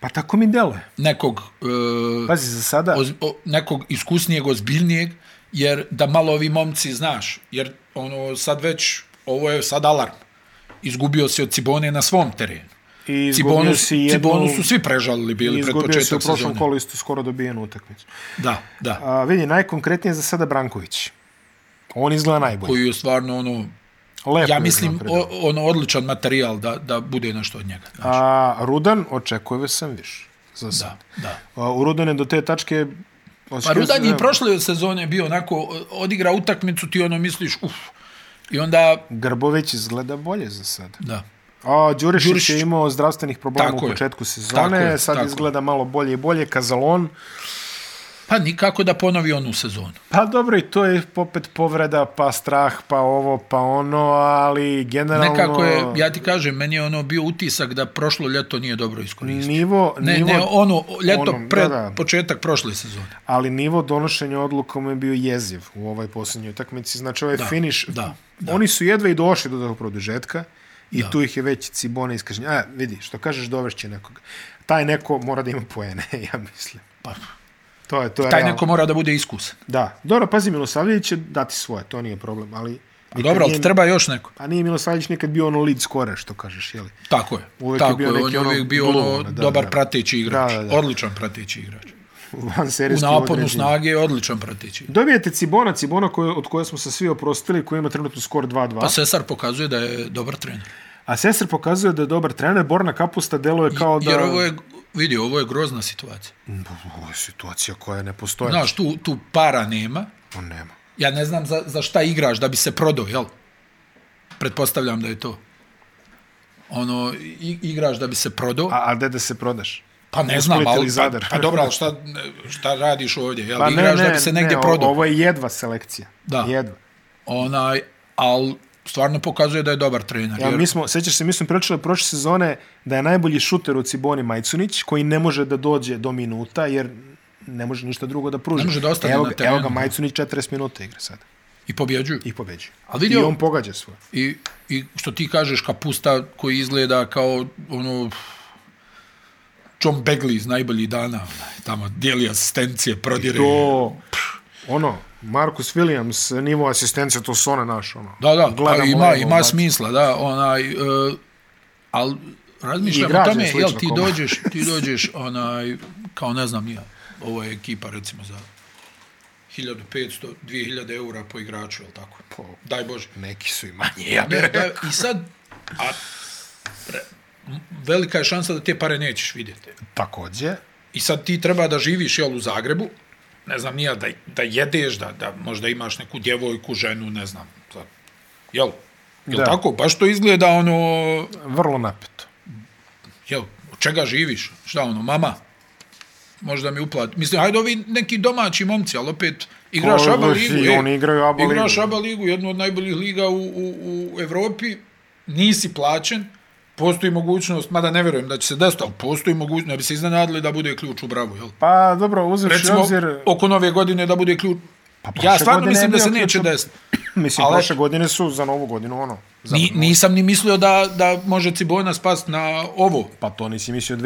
Pa tako mi delo je.
Nekog, e,
Pazi, za sada...
oz, o, nekog iskusnijeg, ozbiljnijeg, jer da malo ovi momci, znaš, jer ono sad već, ovo je sad alarm. Izgubio se od Cibone na svom terenu.
I
Cibonu,
izgubio si jednu...
Cibonu su svi prežalili
i
bili pred
Izgubio si u
početak
prošlom
sezone.
kolu isto skoro dobijenu utakmicu.
Da, da.
A, vidi, najkonkretnije je za sada Branković. On izgleda najbolje.
Koju je stvarno ono,
Lepo
ja
je
mislim,
uznapredo.
o, ono odličan materijal da, da bude nešto od njega. Da,
A, Rudan očekuje sam više. Za sada.
da. da.
A, u Rudane do te tačke...
Pa Rudan je i
Očekivao-
prošle sezone bio onako, odigra utakmicu, ti ono misliš, uf. I onda,
Grbović izgleda bolje za sada.
da,
A, Đurišić,
Đurišić-
je imao zdravstvenih problema
Tako
u
je.
početku sezone,
Tako je,
sad
tako je.
izgleda malo bolje i bolje, Kazalon.
pa nikako da ponovi onu sezonu.
Pa dobro, i to je popet povreda, pa strah, pa ovo, pa ono, ali generalno...
Nekako je,
ono-
ja ti kažem, meni je ono bio utisak da prošlo ljeto nije dobro iskoristio.
Nivo,
Ne,
nivo,
ne, ono, ljeto
ono,
pred
da, da.
početak prošle sezone.
ali nivo donošenja odluka mu je bio jeziv u ovoj posljednjoj utakmici. Znači, ovaj da, finish...
da, da.
Oni su jedva i došli do tog produžetka i da. tu ih je već Cibona iskaženja. A, vidi, što kažeš, dovešće nekoga. Taj neko mora da ima poene, ja mislim.
Pa,
To je, to je
taj
realno.
neko mora da bude iskusan.
Da, dobro, pazi, Milosavljević će dati svoje, to nije problem, ali...
Pa dobro, ali treba još neko.
A nije Milosavljević nikad bio ono lead scorer, što kažeš, jeli?
Tako je.
Uvijek je
tako
bio
je, on
neki
je
ono
uvijek bio ono
glumac, da,
dobar
da.
prateći igrač.
Da, da, da.
Odličan prateći igrač.
Van
U
serijski
naponu
određen.
snage je odličan prateći igrač.
Dobijete Cibona, Cibona koje, od koje smo se svi oprostili, koji ima trenutno skor 2-2.
Pa Sesar pokazuje da je dobar trener.
A Sesar pokazuje da je dobar trener, Borna Kapusta deluje kao da... Mm, pa,
Jer ovo je, vidi, ovo je grozna situacija.
Ovo je situacija koja ne postoje.
Znaš, tu, tu para nema.
On nema.
Ja ne znam za, za šta igraš da bi se prodao, jel? Pretpostavljam da je to. Ono, i, igraš da bi se prodao.
A, a gde da se prodaš?
pa ne znam,
Split ili
ali, pa,
Zadar?
pa dobro, ali šta, ne, šta radiš ovdje? Jel?
Pa
Pa igraš da bi se negdje
ne,
prodao.
Ovo je jedva selekcija.
Da.
Jedva.
Onaj, ali stvarno pokazuje da je dobar trener.
Ja,
jer-
mi smo, sećaš se, mi smo pričali prošle sezone da je najbolji šuter u Ciboni Majcunić, koji ne može da dođe do minuta, jer ne može ništa drugo da pruži.
Ne može da ostane
evo,
na
ga-
terenu.
Evo ga Majcunić 40 minuta igra sada.
I pobjeđuju.
I pobeđuje.
A vidi
I
ovo-
on pogađa svoje.
I, I što ti kažeš kapusta koji izgleda kao ono John Begley iz najboljih dana, onaj, tamo dijeli asistencije, prodire.
To, ono, Marcus Williams, nivo asistencije, to su one naš, ono.
Da, da, pa
Gledamo znači.
ima,
ovo,
ima
baci.
smisla, da, onaj, uh, ali razmišljam o
Igrač je
tome, jel
slično
ti
kome.
dođeš, ti dođeš, onaj, kao ne znam ja, ovo je ekipa recimo za 1500, 2000 eura po igraču, jel tako?
Po-
Daj Bože.
Neki su i manje, ja bih
Ne,
rekao.
da, e, I sad, a, re, velika je šansa da te pare nećeš vidjeti.
Takođe,
I sad ti treba da živiš jel, u Zagrebu, ne znam nija, da, da jedeš, da, da možda imaš neku djevojku, ženu, ne znam. Sad, jel? Jel da.
Da.
tako? Baš to izgleda ono,
Vrlo napeto.
jel, od čega živiš? Šta ono, mama? Možda mi uplati. Mislim, ajde ovi neki domaći momci, ali opet igraš
Ko-
ABA ligu.
i
ej.
Pa, oni igraju ABA ligu.
Igraš ABA ligu, jednu od najboljih liga u, u, u Evropi, nisi plaćen, postoji mogućnost, mada ne verujem da će se desiti, ali postoji mogućnost, ne bi se iznenadili da bude ključ u bravu, jel?
Pa dobro, uzevši
Recimo,
obzir...
oko nove godine da bude ključ. Pa,
prošle
ja stvarno
godine je
mislim da
bio
se
ključ
neće
u-
desiti.
Mislim,
Ali-
prošle godine su za novu godinu ono. Za,
Ni, nisam ni mislio da, da može Cibona spast na ovo.
Pa to nisi mislio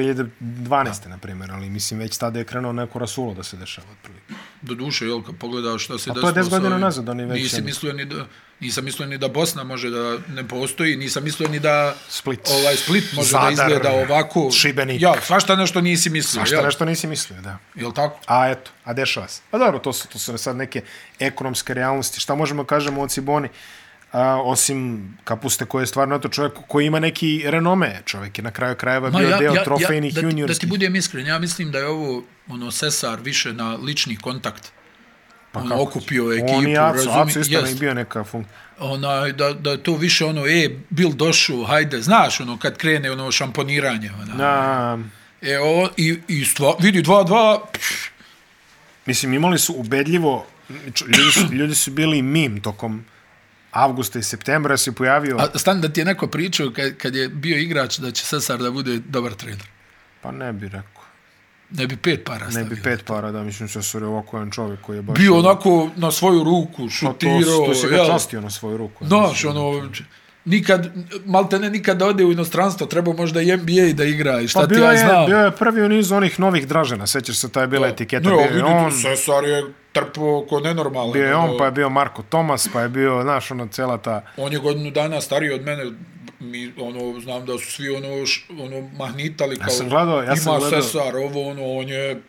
2012. na primjer, ali mislim već tada je krenuo neko rasulo da se dešava. otprilike.
Do duše, jel, kad pogledaš šta se
A to je
desilo...
10
sa
godina
ovim,
nazad, oni već ono-
Nisi
jedno.
mislio ni da, nisam mislio ni da Bosna može da ne postoji, nisam mislio ni da
Split.
ovaj Split može
Zadar,
da izgleda ovako.
Šibenik.
Ja, svašta nešto nisi mislio,
A šta
jel,
nešto nisi mislio, da.
jel tako?
A eto, a dešava se. Pa dobro, to su, to su sad neke ekonomske realnosti. Šta možemo kažemo o Ciboni? A, osim kapuste koji je stvarno eto čovjek koji ima neki renome čovjek je na kraju krajeva bio deo trofejnih
da, ti- da ti
juniorskih
budem iskren, ja mislim da je ovo ono Sesar više na lični kontakt. Pa ono,
kako
okupio ekipu,
on i Aco, Aco isto
jest.
je bio neka fun...
onaj, da, da je to više ono, e, bil došu, hajde, znaš, ono, kad krene ono šamponiranje, ona. Da.
na,
E, ovo, i, i stva, vidi, 2-2, pff,
Mislim, imali su ubedljivo, č- ljudi su, ljudi su bili mim tokom avgusta i septembra se pojavio,
a stan da ti je neko pričao kad, kad je bio igrač da će Sesar da bude dobar trener.
pa ne bi rekao,
Ne bi pet para
ne
stavio.
bi pet para, da mislim što su ovako jedan čovjek koji je baš... ono-
Bio onako na svoju ruku,
Pa to,
šutirao,
to si ga
jel?
častio na svoju ruku. ja
Znaš,
mislim.
ono, nikad, malte ne nikad da ode u inostranstvo, treba možda i NBA da igra i šta
Pa
ti
bio,
ja
je,
znam.
bio je prvi u nizu onih novih Dražena, sećaš se, taj je bila etiketa,
no,
bio je on,
Sesar je trpo ko nenormalan.
bio je on,
ono.
pa je bio Marko Tomas, pa je bio, znaš, ono, cela ta...
On je godinu dana stariji od mene, mi, ono, znam da su svi ono, š, ono mahnitali kao,
sam gledao, ja
ima
sam gledao-
Sesar, ovo, ono, on je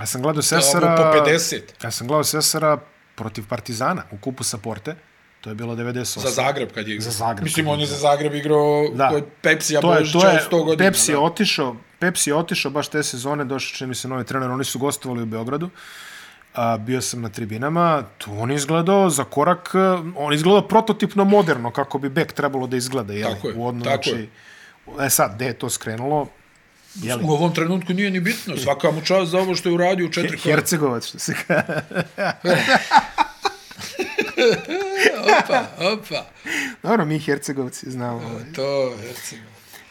Ja sam gledao
Sesara...
Sesara...
po 50
Ja sam gledao Sesara protiv Partizana u kupu Saporte, to je bilo 98.
za Zagreb kad je igrao.
Za Zagreb
Mislim,
kad je
on je za
igrao.
Zagreb igrao
Da.
da. kod Pepsija
to je, to
Božića
je,
od 100 godina.
Pepsi je otišao, Pepsi je otišao baš te sezone, došao čini mi se novi trener, oni su gostovali u Beogradu, a, bio sam na tribinama, tu on je izgledao za korak, e, on je izgledao prototipno moderno, kako bi bek trebalo da izgleda, jeli,
Tako je,
u odnosu,
tako
znači, e sad, gde je to skrenulo, jeli,
U ovom trenutku nije ni bitno, svaka mu čast za ovo što je uradio u četiri kola.
Hercegovac, što se kaže.
Opa, opa,
Dobro, mi Hercegovci znamo. ovaj.
to Herceg.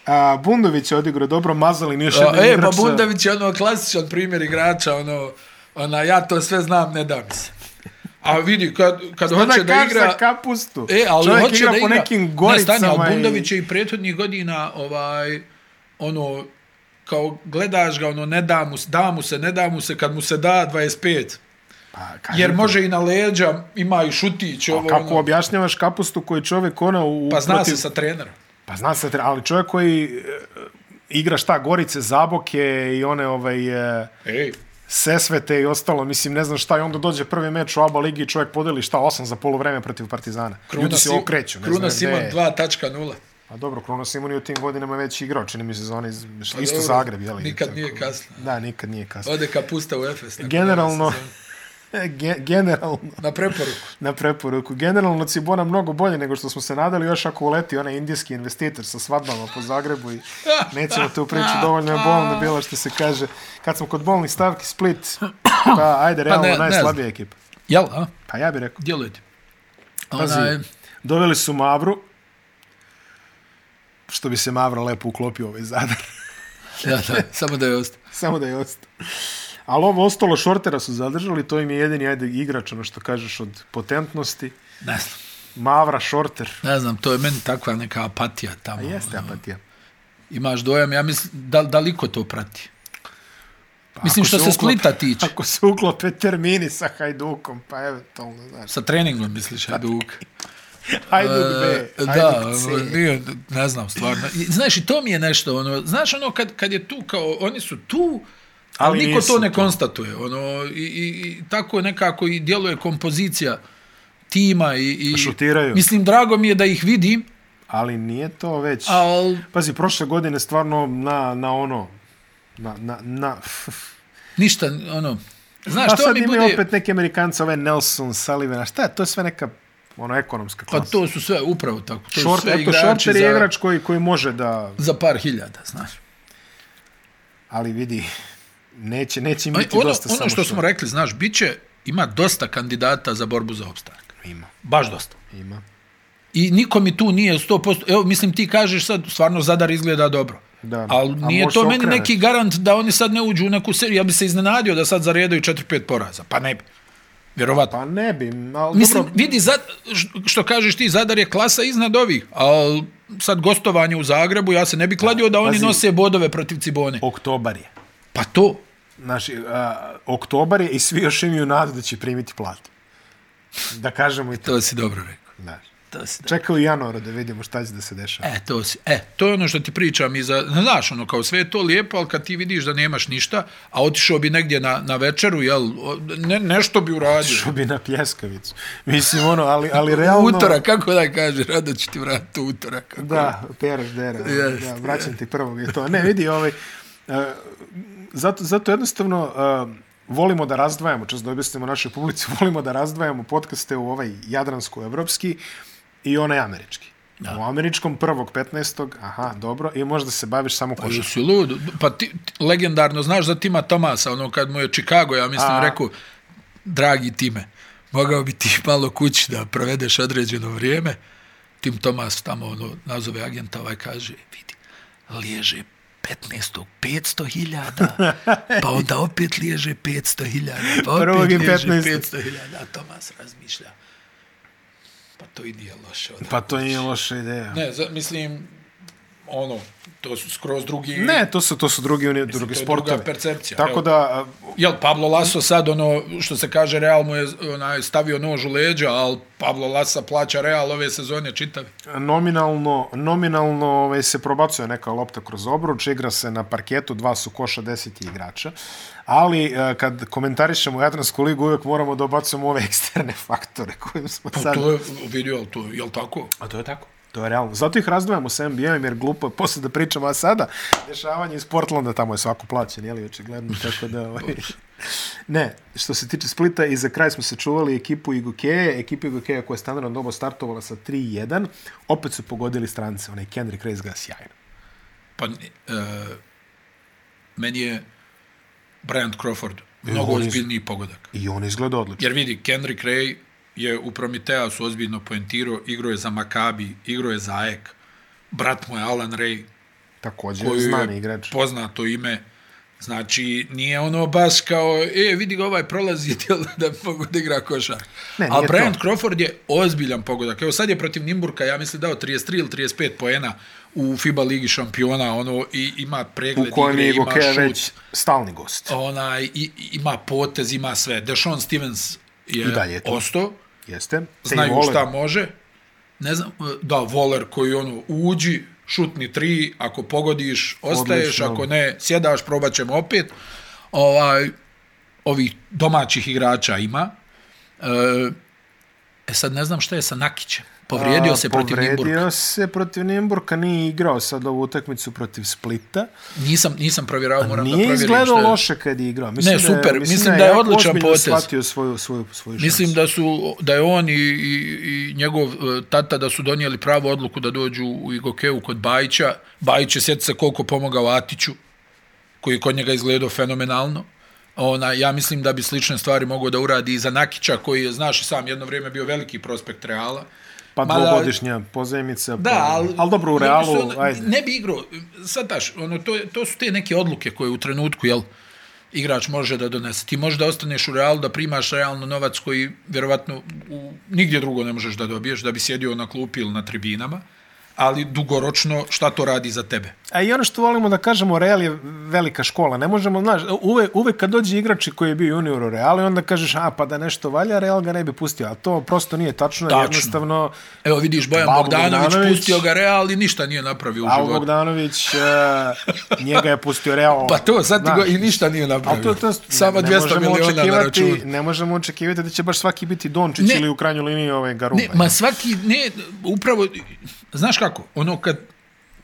A, Bundović je odigrao dobro, Mazalin još
A,
jedan
E, pa
igrač. sa-
Bundavić je ono klasičan primjer igrača, ono, ona, ja to sve znam, ne dam se. A vidi, kad, kad
Ona
hoće da
kaže
igra...
za kapustu.
E, ali
Čovjek
hoće
igra
da
po
igra.
nekim goricama.
Ne, stani, ali
i-
Bundović je i prethodnih godina, ovaj, ono, kao gledaš ga, ono, ne da mu, se, da mu se, ne da mu se, kad mu se da 25.
Pa, kažem
Jer
ti.
može i na leđa, ima i šutić,
A
ovo,
kako
ono.
objašnjavaš kapustu koji čovjek ona u
Pa zna
protiv-
se sa trenerom.
pa zna se tre- ali čovjek koji e, igra šta Gorice, Zaboke i one ovaj e,
Ej,
Sesvete i ostalo, mislim ne znam šta i onda dođe prvi meč u ABA ligi i čovjek podeli šta osam za poluvreme protiv Partizana. Kruna Ljudi se
Sim-
okreću, ne
Kruna
znam
Simon
gde. Dva...
2.0.
A dobro, Kruna Simon je u tim godinama već igrao, čini mi se za onaj isto
Pa dobro,
Zagreb, je li?
nikad nije kasno.
Da, nikad nije kasno.
Ode kapusta u Efes. nakon
Generalno
ove sezone.
ge, generalno
Na preporuku.
na preporuku. Generalno Cibona mnogo bolje nego što smo se nadali, još ako uleti onaj indijski investitor sa svadbama po Zagrebu i nećemo tu priču, dovoljno je bolno bilo što se kaže. Kad smo kod bolnih stavki, Split, pa ajde, realno
ne- ne
najslabija ekipa.
Jel, a?
Pa ja bih rekao.
Djeluje ti.
Pazi,
Onaj,
doveli su Mavru, što bi se Mavra lepo uklopio u ovaj zadar,
ja, da, samo da je ostao.
samo da je ostao. Ali ovo ostalo šortera su zadržali, to im je jedini ajde, igrač, ono što kažeš, od potentnosti.
Ne znam.
Mavra, šorter,
Ne znam, to je meni takva neka apatija tamo. ono.
jeste apatija.
Imaš dojam, ja mislim, da, da li ko to prati? Pa, mislim,
ako
što
se
se,
uklopi-
Splita tiče.
Ako se uklope termini sa Hajdukom, pa eventualno, znaš.
Sa treningom, misliš, Hajduk.
Hajduk B,
E, da,
Hajduk
ono,
C.
nije, ne znam, stvarno. I, Znaš, i to mi je nešto, ono, znaš, ono, kad, kad je tu, kao, oni su tu, ali,
Ali
niko
nisu
to ne
tu.
konstatuje, ono, i, i, i tako nekako i djeluje kompozicija tima i, i...
Šutiraju.
Mislim, drago mi je da ih vidim,
Ali nije to već...
ali
Pazi, prošle godine stvarno na, na ono, Na, na, na.
Ništa, ono... Znaš,
A
to
sad
mi
imaju
bude...
opet neke Amerikanca, ovaj Nelson, Sullivan, a šta je, to je sve neka ono, ekonomska
Pa
klasa.
to su sve, upravo tako. To su
Short,
sve
eto,
igrači
Shorter
za,
je igrač koji, koji može da...
za par hiljada, znaš.
Ali vidi, neće, neće im
Aj,
biti
ono,
dosta
ono
samo
što smo rekli, znaš, bit će, ima dosta kandidata za borbu za opstanak.
Ima,
Baš dosta.
ima.
I niko mi tu nije 100%, evo, mislim, ti kažeš sad, stvarno Zadar izgleda dobro.
Da.
Ali
A
nije
može
to
se
meni
okrenuti.
neki garant da oni sad ne uđu u neku seriju. Ja bi se iznenadio da sad zaredaju 4-5 poraza. Pa ne bi. Vjerovatno.
Pa ne bi, ali
Mislim,
dobro,
vidi, zad, š- što kažeš ti, Zadar je klasa iznad ovih, ali sad gostovanje u Zagrebu, ja se ne bi kladio da oni
Pazi.
nose bodove protiv Cibone.
oktobar je.
Pa to,
Znači, a, oktobar je i svi još imaju nadu da će primiti platu. Da kažemo i to.
to si dobro rekao.
Da.
To si dobro.
Čekaju januara da vidimo šta će da se dešava.
E, to si, e, to je ono što ti pričam i za, znaš, ono, kao sve je to lijepo, ali kad ti vidiš da nemaš ništa, a otišao bi negdje na, na večeru, jel, o, ne, nešto bi uradio.
Što bi na pljeskavicu. Mislim, ono, ali, ali realno...
Utorak, kako da kaže, rado ću ti vratiti u utorak. Kako?
Da, peraš dera.
Jest,
da, vraćam ti prvog je to. Ne, vidi, ovaj, uh, zato, zato jednostavno uh, volimo da razdvajamo, čas da objasnimo našoj publici, volimo da razdvajamo podcaste u ovaj jadransko-evropski i onaj američki. Da. U američkom prvog 15. Aha, dobro. I možda se baviš samo košarkom.
Pa Jesi lud? Pa ti, ti, legendarno, znaš za Tima Tomasa, ono kad mu je Chicago, ja mislim,
A.
A... rekao, dragi Time, mogao bi ti malo kući da provedeš određeno vrijeme. Tim Tomas tamo ono, nazove agenta, ovaj kaže, vidi, liježe 15. 500 hiljada, pa onda opet liježe 500 hiljada, pa
Prvog
opet
i
liježe
15..
500 hiljada. A Tomas razmišlja, pa to i nije loše. odavno.
Pa to nije loša ideja. Ne,
Ne, za, mislim, ono, to su skroz drugi...
ne to, su, to su drugi, uni, drugi
to je
sportovi.
druga percepcija,
Tako
evo.
da, uh,
Jel, Pablo Laso sad, ono, što se kaže, Real mu je onaj, stavio nož u leđa, ali Pablo Lasa plaća Real ove sezone čitave.
nominalno, nominalno ovaj, se probacuje neka lopta kroz obruč, igra se na parketu, dva su koša, deset je igrača, ali e, kad komentarišemo Jadransku ligu uvijek moramo da obacujemo ove eksterne faktore kojim smo
Pa
sad...
to je, vidio, ali to, je, jel tako?
A to je tako. To je realno. Zato ih razdvajamo sa NBA-om jer glupo je posle da pričamo, a sada dešavanje iz Portlanda, tamo je svako plaćen, jeli, očigledno, tako da... Ovaj. Ne, što se tiče Splita, i za kraj smo se čuvali ekipu Igokeje, ekipa Igokeja koja je standardno dobo startovala sa 3-1, opet su pogodili strance, onaj Kendrick Reis ga sjajno.
Pa, e, meni je Bryant Crawford mnogo
oni su-
ozbiljniji pogodak.
I on izgleda odlično.
Jer vidi, Kendrick Ray je u Prometeasu ozbiljno poentirao, igro je za Makabi, igro je za Aek, brat mu je Alan Ray,
Također,
koju
znani
je
igrač.
poznato ime. Znači, nije ono baš kao, e, vidi ga ovaj prolazi djel da mogu da igra košar.
Ne,
A
nije to.
Bryant Crawford je ozbiljan pogodak. Evo sad je protiv Nimburka, ja mislim, dao 33 ili 35 poena u FIBA Ligi šampiona, ono, i ima
U
pregled
kojem
igre, ima
je Igokeja
šut,
već stalni gost.
onaj, i, i- ima potez, ima sve. Deshaun Stevens je,
I dalje je tu.
ostao,
Jeste? Te i
znaju
vole.
šta može. Ne znam, e, da, Voler koji ono, uđi, šutni tri, ako pogodiš, ostaješ,
Odlično.
ako ne, sjedaš, probat ćemo opet. Ovaj, ovih domaćih igrača ima. E, e sad ne znam šta je sa Nakićem. Povrijedio
A,
se protiv Nimburga.
Povrijedio se protiv Nimburka, nije igrao sad ovu utakmicu protiv Splita.
Nisam, nisam provjerao, moram da
Nije
provjerim
izgledao
šta je.
loše kad je igrao. Mislim
Ne, super, mislim da je
jako
odličan
ozbiljno
potez.
shvatio svoju, svoju, svoju
Mislim
šansu.
da su da je on i, i, i njegov e, tata da su donijeli pravu odluku da dođu u Igokeu kod Bajića. Bajić je sjeti se koliko pomogao Atiću, koji je kod njega izgledao fenomenalno. Ona, ja mislim da bi slične stvari mogao da uradi i za Nakića, koji je, znaš i sam, jedno vrijeme bio veliki prospekt Reala.
Pa
Mada-
dvogodišnja pozajmica.
Da,
pa,
ali...
ali dobro, u
ljudi
Realu,
su ono-
ajde.
Ne bi igrao, sad daš, ono, to, je- to su te neke odluke koje u trenutku, jel, igrač može da donese. Ti možeš da ostaneš u Realu, da primaš realno novac koji vjerovatno u, nigdje drugo ne možeš da dobiješ, da bi sjedio na klupi ili na tribinama, ali dugoročno šta to radi za tebe?
A i ono što volimo da kažemo, Real je velika škola. Ne možemo, znaš, uvek, uvek kad dođe igrači koji je bio junior u Realu i onda kažeš, a, pa da nešto valja, Real ga ne bi pustio. Ali to prosto nije tačno,
Tačno.
tačno. jednostavno...
Evo vidiš Bojan
Pablo
Bogdanović,
Bogdanović.
pustio ga Real i ništa nije napravio u
Al
životu.
Bogdanović, e, njega je pustio Real.
Pa to, sad ti
Znaš,
go, i ništa nije
Ali
napravio.
to, to,
Samo 200
možemo
miliona na računu.
očekivati, ne možemo očekivati da će baš svaki biti Dončić
Ne.
ili u krajnjoj liniji ovaj Garuba.
Ne, ma svaki, ne, upravo, znaš kako, ono kad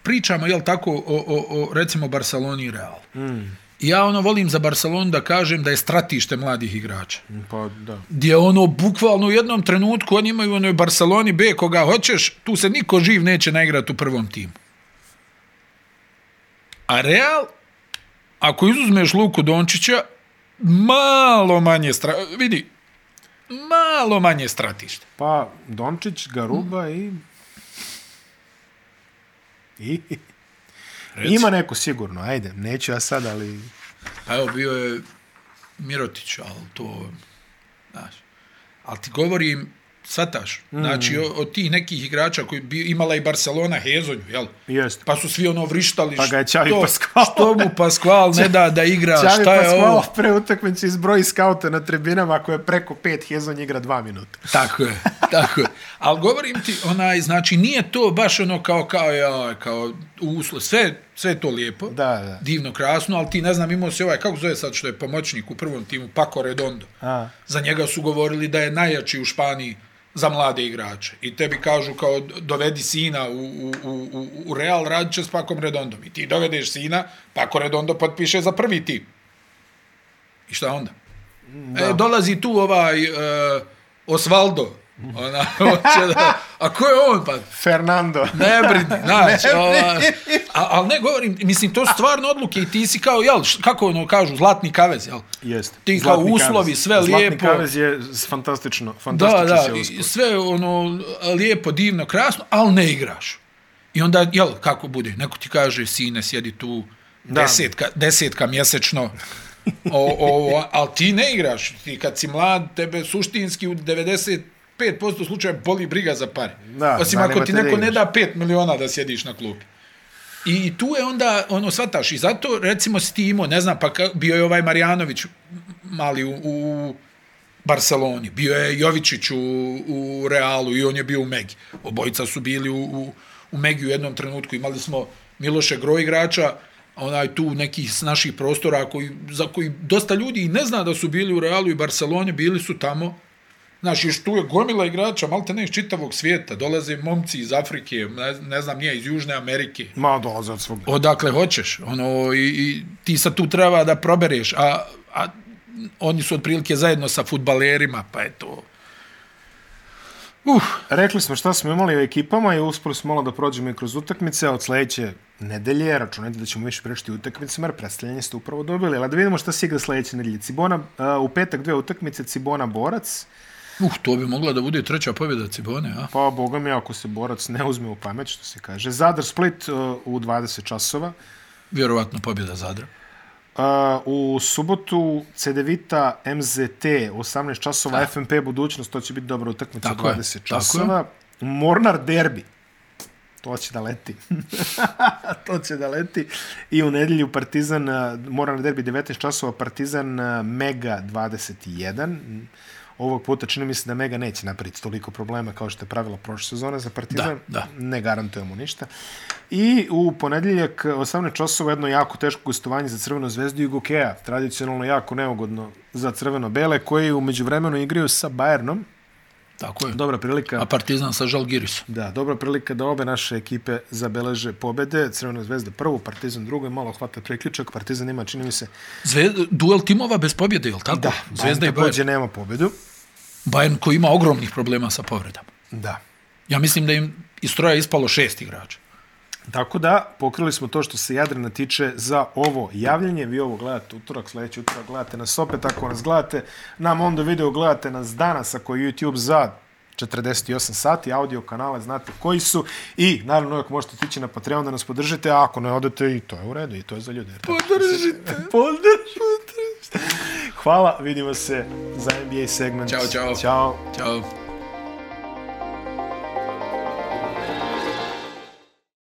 pričamo, jel tako, o, o, o recimo Barceloni i Real, mm. ja ono volim za Barcelonu da kažem da je stratište mladih igrača.
Pa, da.
Gdje ono, bukvalno u jednom trenutku oni imaju onoj Barceloni B koga hoćeš, tu se niko živ neće naigrati u prvom timu. A Real, ako izuzmeš Luku Dončića, malo manje stra... vidi, malo manje stratište.
Pa, Dončić, Garuba i... I...
Reci.
Ima neko sigurno, ajde, neću ja sad, ali...
Pa evo, bio je Mirotić, ali to, znaš, ali ti govorim, sataš, mm. znači, o, od tih nekih igrača koji bi imala i Barcelona Hezonju, jel?
Jeste.
Pa su svi ono vrištali.
Pa ga je
što-
Xavi Pascual.
Što mu Pascual ne da da igra,
Čavi
šta je
Pascual
ovo?
pre utakmice izbroji skauta na tribinama ako je preko pet, Hezon igra dva minuta.
Tako je, tako je. Ali govorim ti, onaj, znači, nije to baš ono kao, kao, ja, kao, uslo, sve, sve je to lijepo.
Da, da.
Divno, krasno, ali ti, ne znam, imao si ovaj, kako zove sad što je pomoćnik u prvom timu, Paco Redondo.
A.
Za njega su govorili da je najjači u Španiji za mlade igrače. I tebi kažu kao dovedi sina u, u, u, u- u Real radit će s Pakom Redondom. I ti dovedeš sina, Paco Redondo potpiše za prvi tim. I šta onda? E, dolazi tu ovaj e, Osvaldo. Ona, hoće da, a ko je on? Pa
Fernando.
ne brini, znaš, ova, a, ali ne govorim, mislim, to su stvarno odluke i ti si kao, jel, š- kako ono kažu, zlatni kavez, jel?
Jeste.
Ti kao uslovi, sve
Zlatni
lijepo.
Zlatni kavez je s- fantastično,
Da,
fantastično
da,
se
i
uspio.
sve ono lijepo, divno, krasno, ali ne igraš. I onda, jel, kako bude, neko ti kaže, sine, sjedi tu desetka, desetka mjesečno, o, o, o, ali ti ne igraš. Ti kad si mlad, tebe suštinski u 90 5% slučaja boli briga za pare.
Da,
Osim
zanima
ako ti
te da
neko ne
igraš.
da 5 miliona da sjediš na klupi. I tu je onda, ono, svataš, i zato, recimo, si ti imao, ne znam, pa ka- bio je ovaj Marjanović m- mali u, u Barceloni, bio je Jovičić u, u Realu i on je bio u Megi. Obojica su bili u, u, u Megi u jednom trenutku, imali smo Miloše Groj igrača, onaj tu nekih s naših prostora koji, za koji dosta ljudi i ne zna da su bili u Realu i Barceloni, bili su tamo Znaš, još tu je gomila igrača, malte ne iz čitavog svijeta. Dolaze momci iz Afrike, ne, ne znam, nije, iz Južne Amerike.
Ma, dolaze od svog.
Odakle hoćeš. Ono, i, i ti sad tu treba da probereš. A, a oni su otprilike zajedno sa futbalerima, pa je to... Uh,
Rekli smo šta smo imali u ekipama i uspeli smo malo da prođemo i kroz utakmice, a od sledeće nedelje računajte da ćemo više prešti utakmicama, jer predstavljanje ste upravo dobili. Ali da vidimo šta se igra sledeće nedelje. Cibona, a, u petak dve utakmice, Cibona Borac,
uh, to bi mogla da bude treća pobjeda Cibone, a?
pa boga mi ako se Borac ne uzme u pamet, što se kaže. Zadar Split a, u 20 časova,
Vjerovatno pobjeda Zadra.
A, u subotu CDVita MZT 18 časova da. FMP budućnost to će biti dobra utakmica
Tako je,
20
tako je.
časova Mornar derbi to će da leti to će da leti i u nedelju Partizan a, Mornar derbi 19 časova Partizan a, Mega 21 ovog puta čini mi se da Mega neće napraviti toliko problema kao što je pravila prošle sezone za Partizan
Da,
ne garantujemo ništa. I u ponedeljak 18 časova jedno jako teško gostovanje za Crvenu zvezdu i Gokeja, tradicionalno jako neugodno za Crveno-Bele, koji umeđu vremenu igraju sa Bayernom.
Tako je.
Dobra prilika.
A Partizan sa Žalgirisom.
Da, dobra prilika da obe naše ekipe zabeleže pobede. Crvena zvezda prvu, Partizan drugu, malo hvata priključak. Partizan ima, čini mi se,
Zve, duel timova bez pobjede, jel tako?
da,
Zvezda i
takođe
Bayern.
nema pobedu.
Bayern koji ima ogromnih problema sa povredama.
Da.
Ja mislim da im iz troja ispalo šest igrača.
Tako da, pokrili smo to što se Jadrana tiče za ovo javljanje. Vi ovo gledate utorak, sljedeći utorak gledate nas opet. Ako nas gledate nam onda video, gledate nas danas ako je YouTube za 48 sati, audio kanale znate koji su i naravno uvijek možete tići na Patreon da nas podržite, a ako ne odete i to je u redu i to je za ljude.
Podržite.
Podržite! Hvala, vidimo se za NBA segment.
Ćao, čao.
Ćao.
Ćao.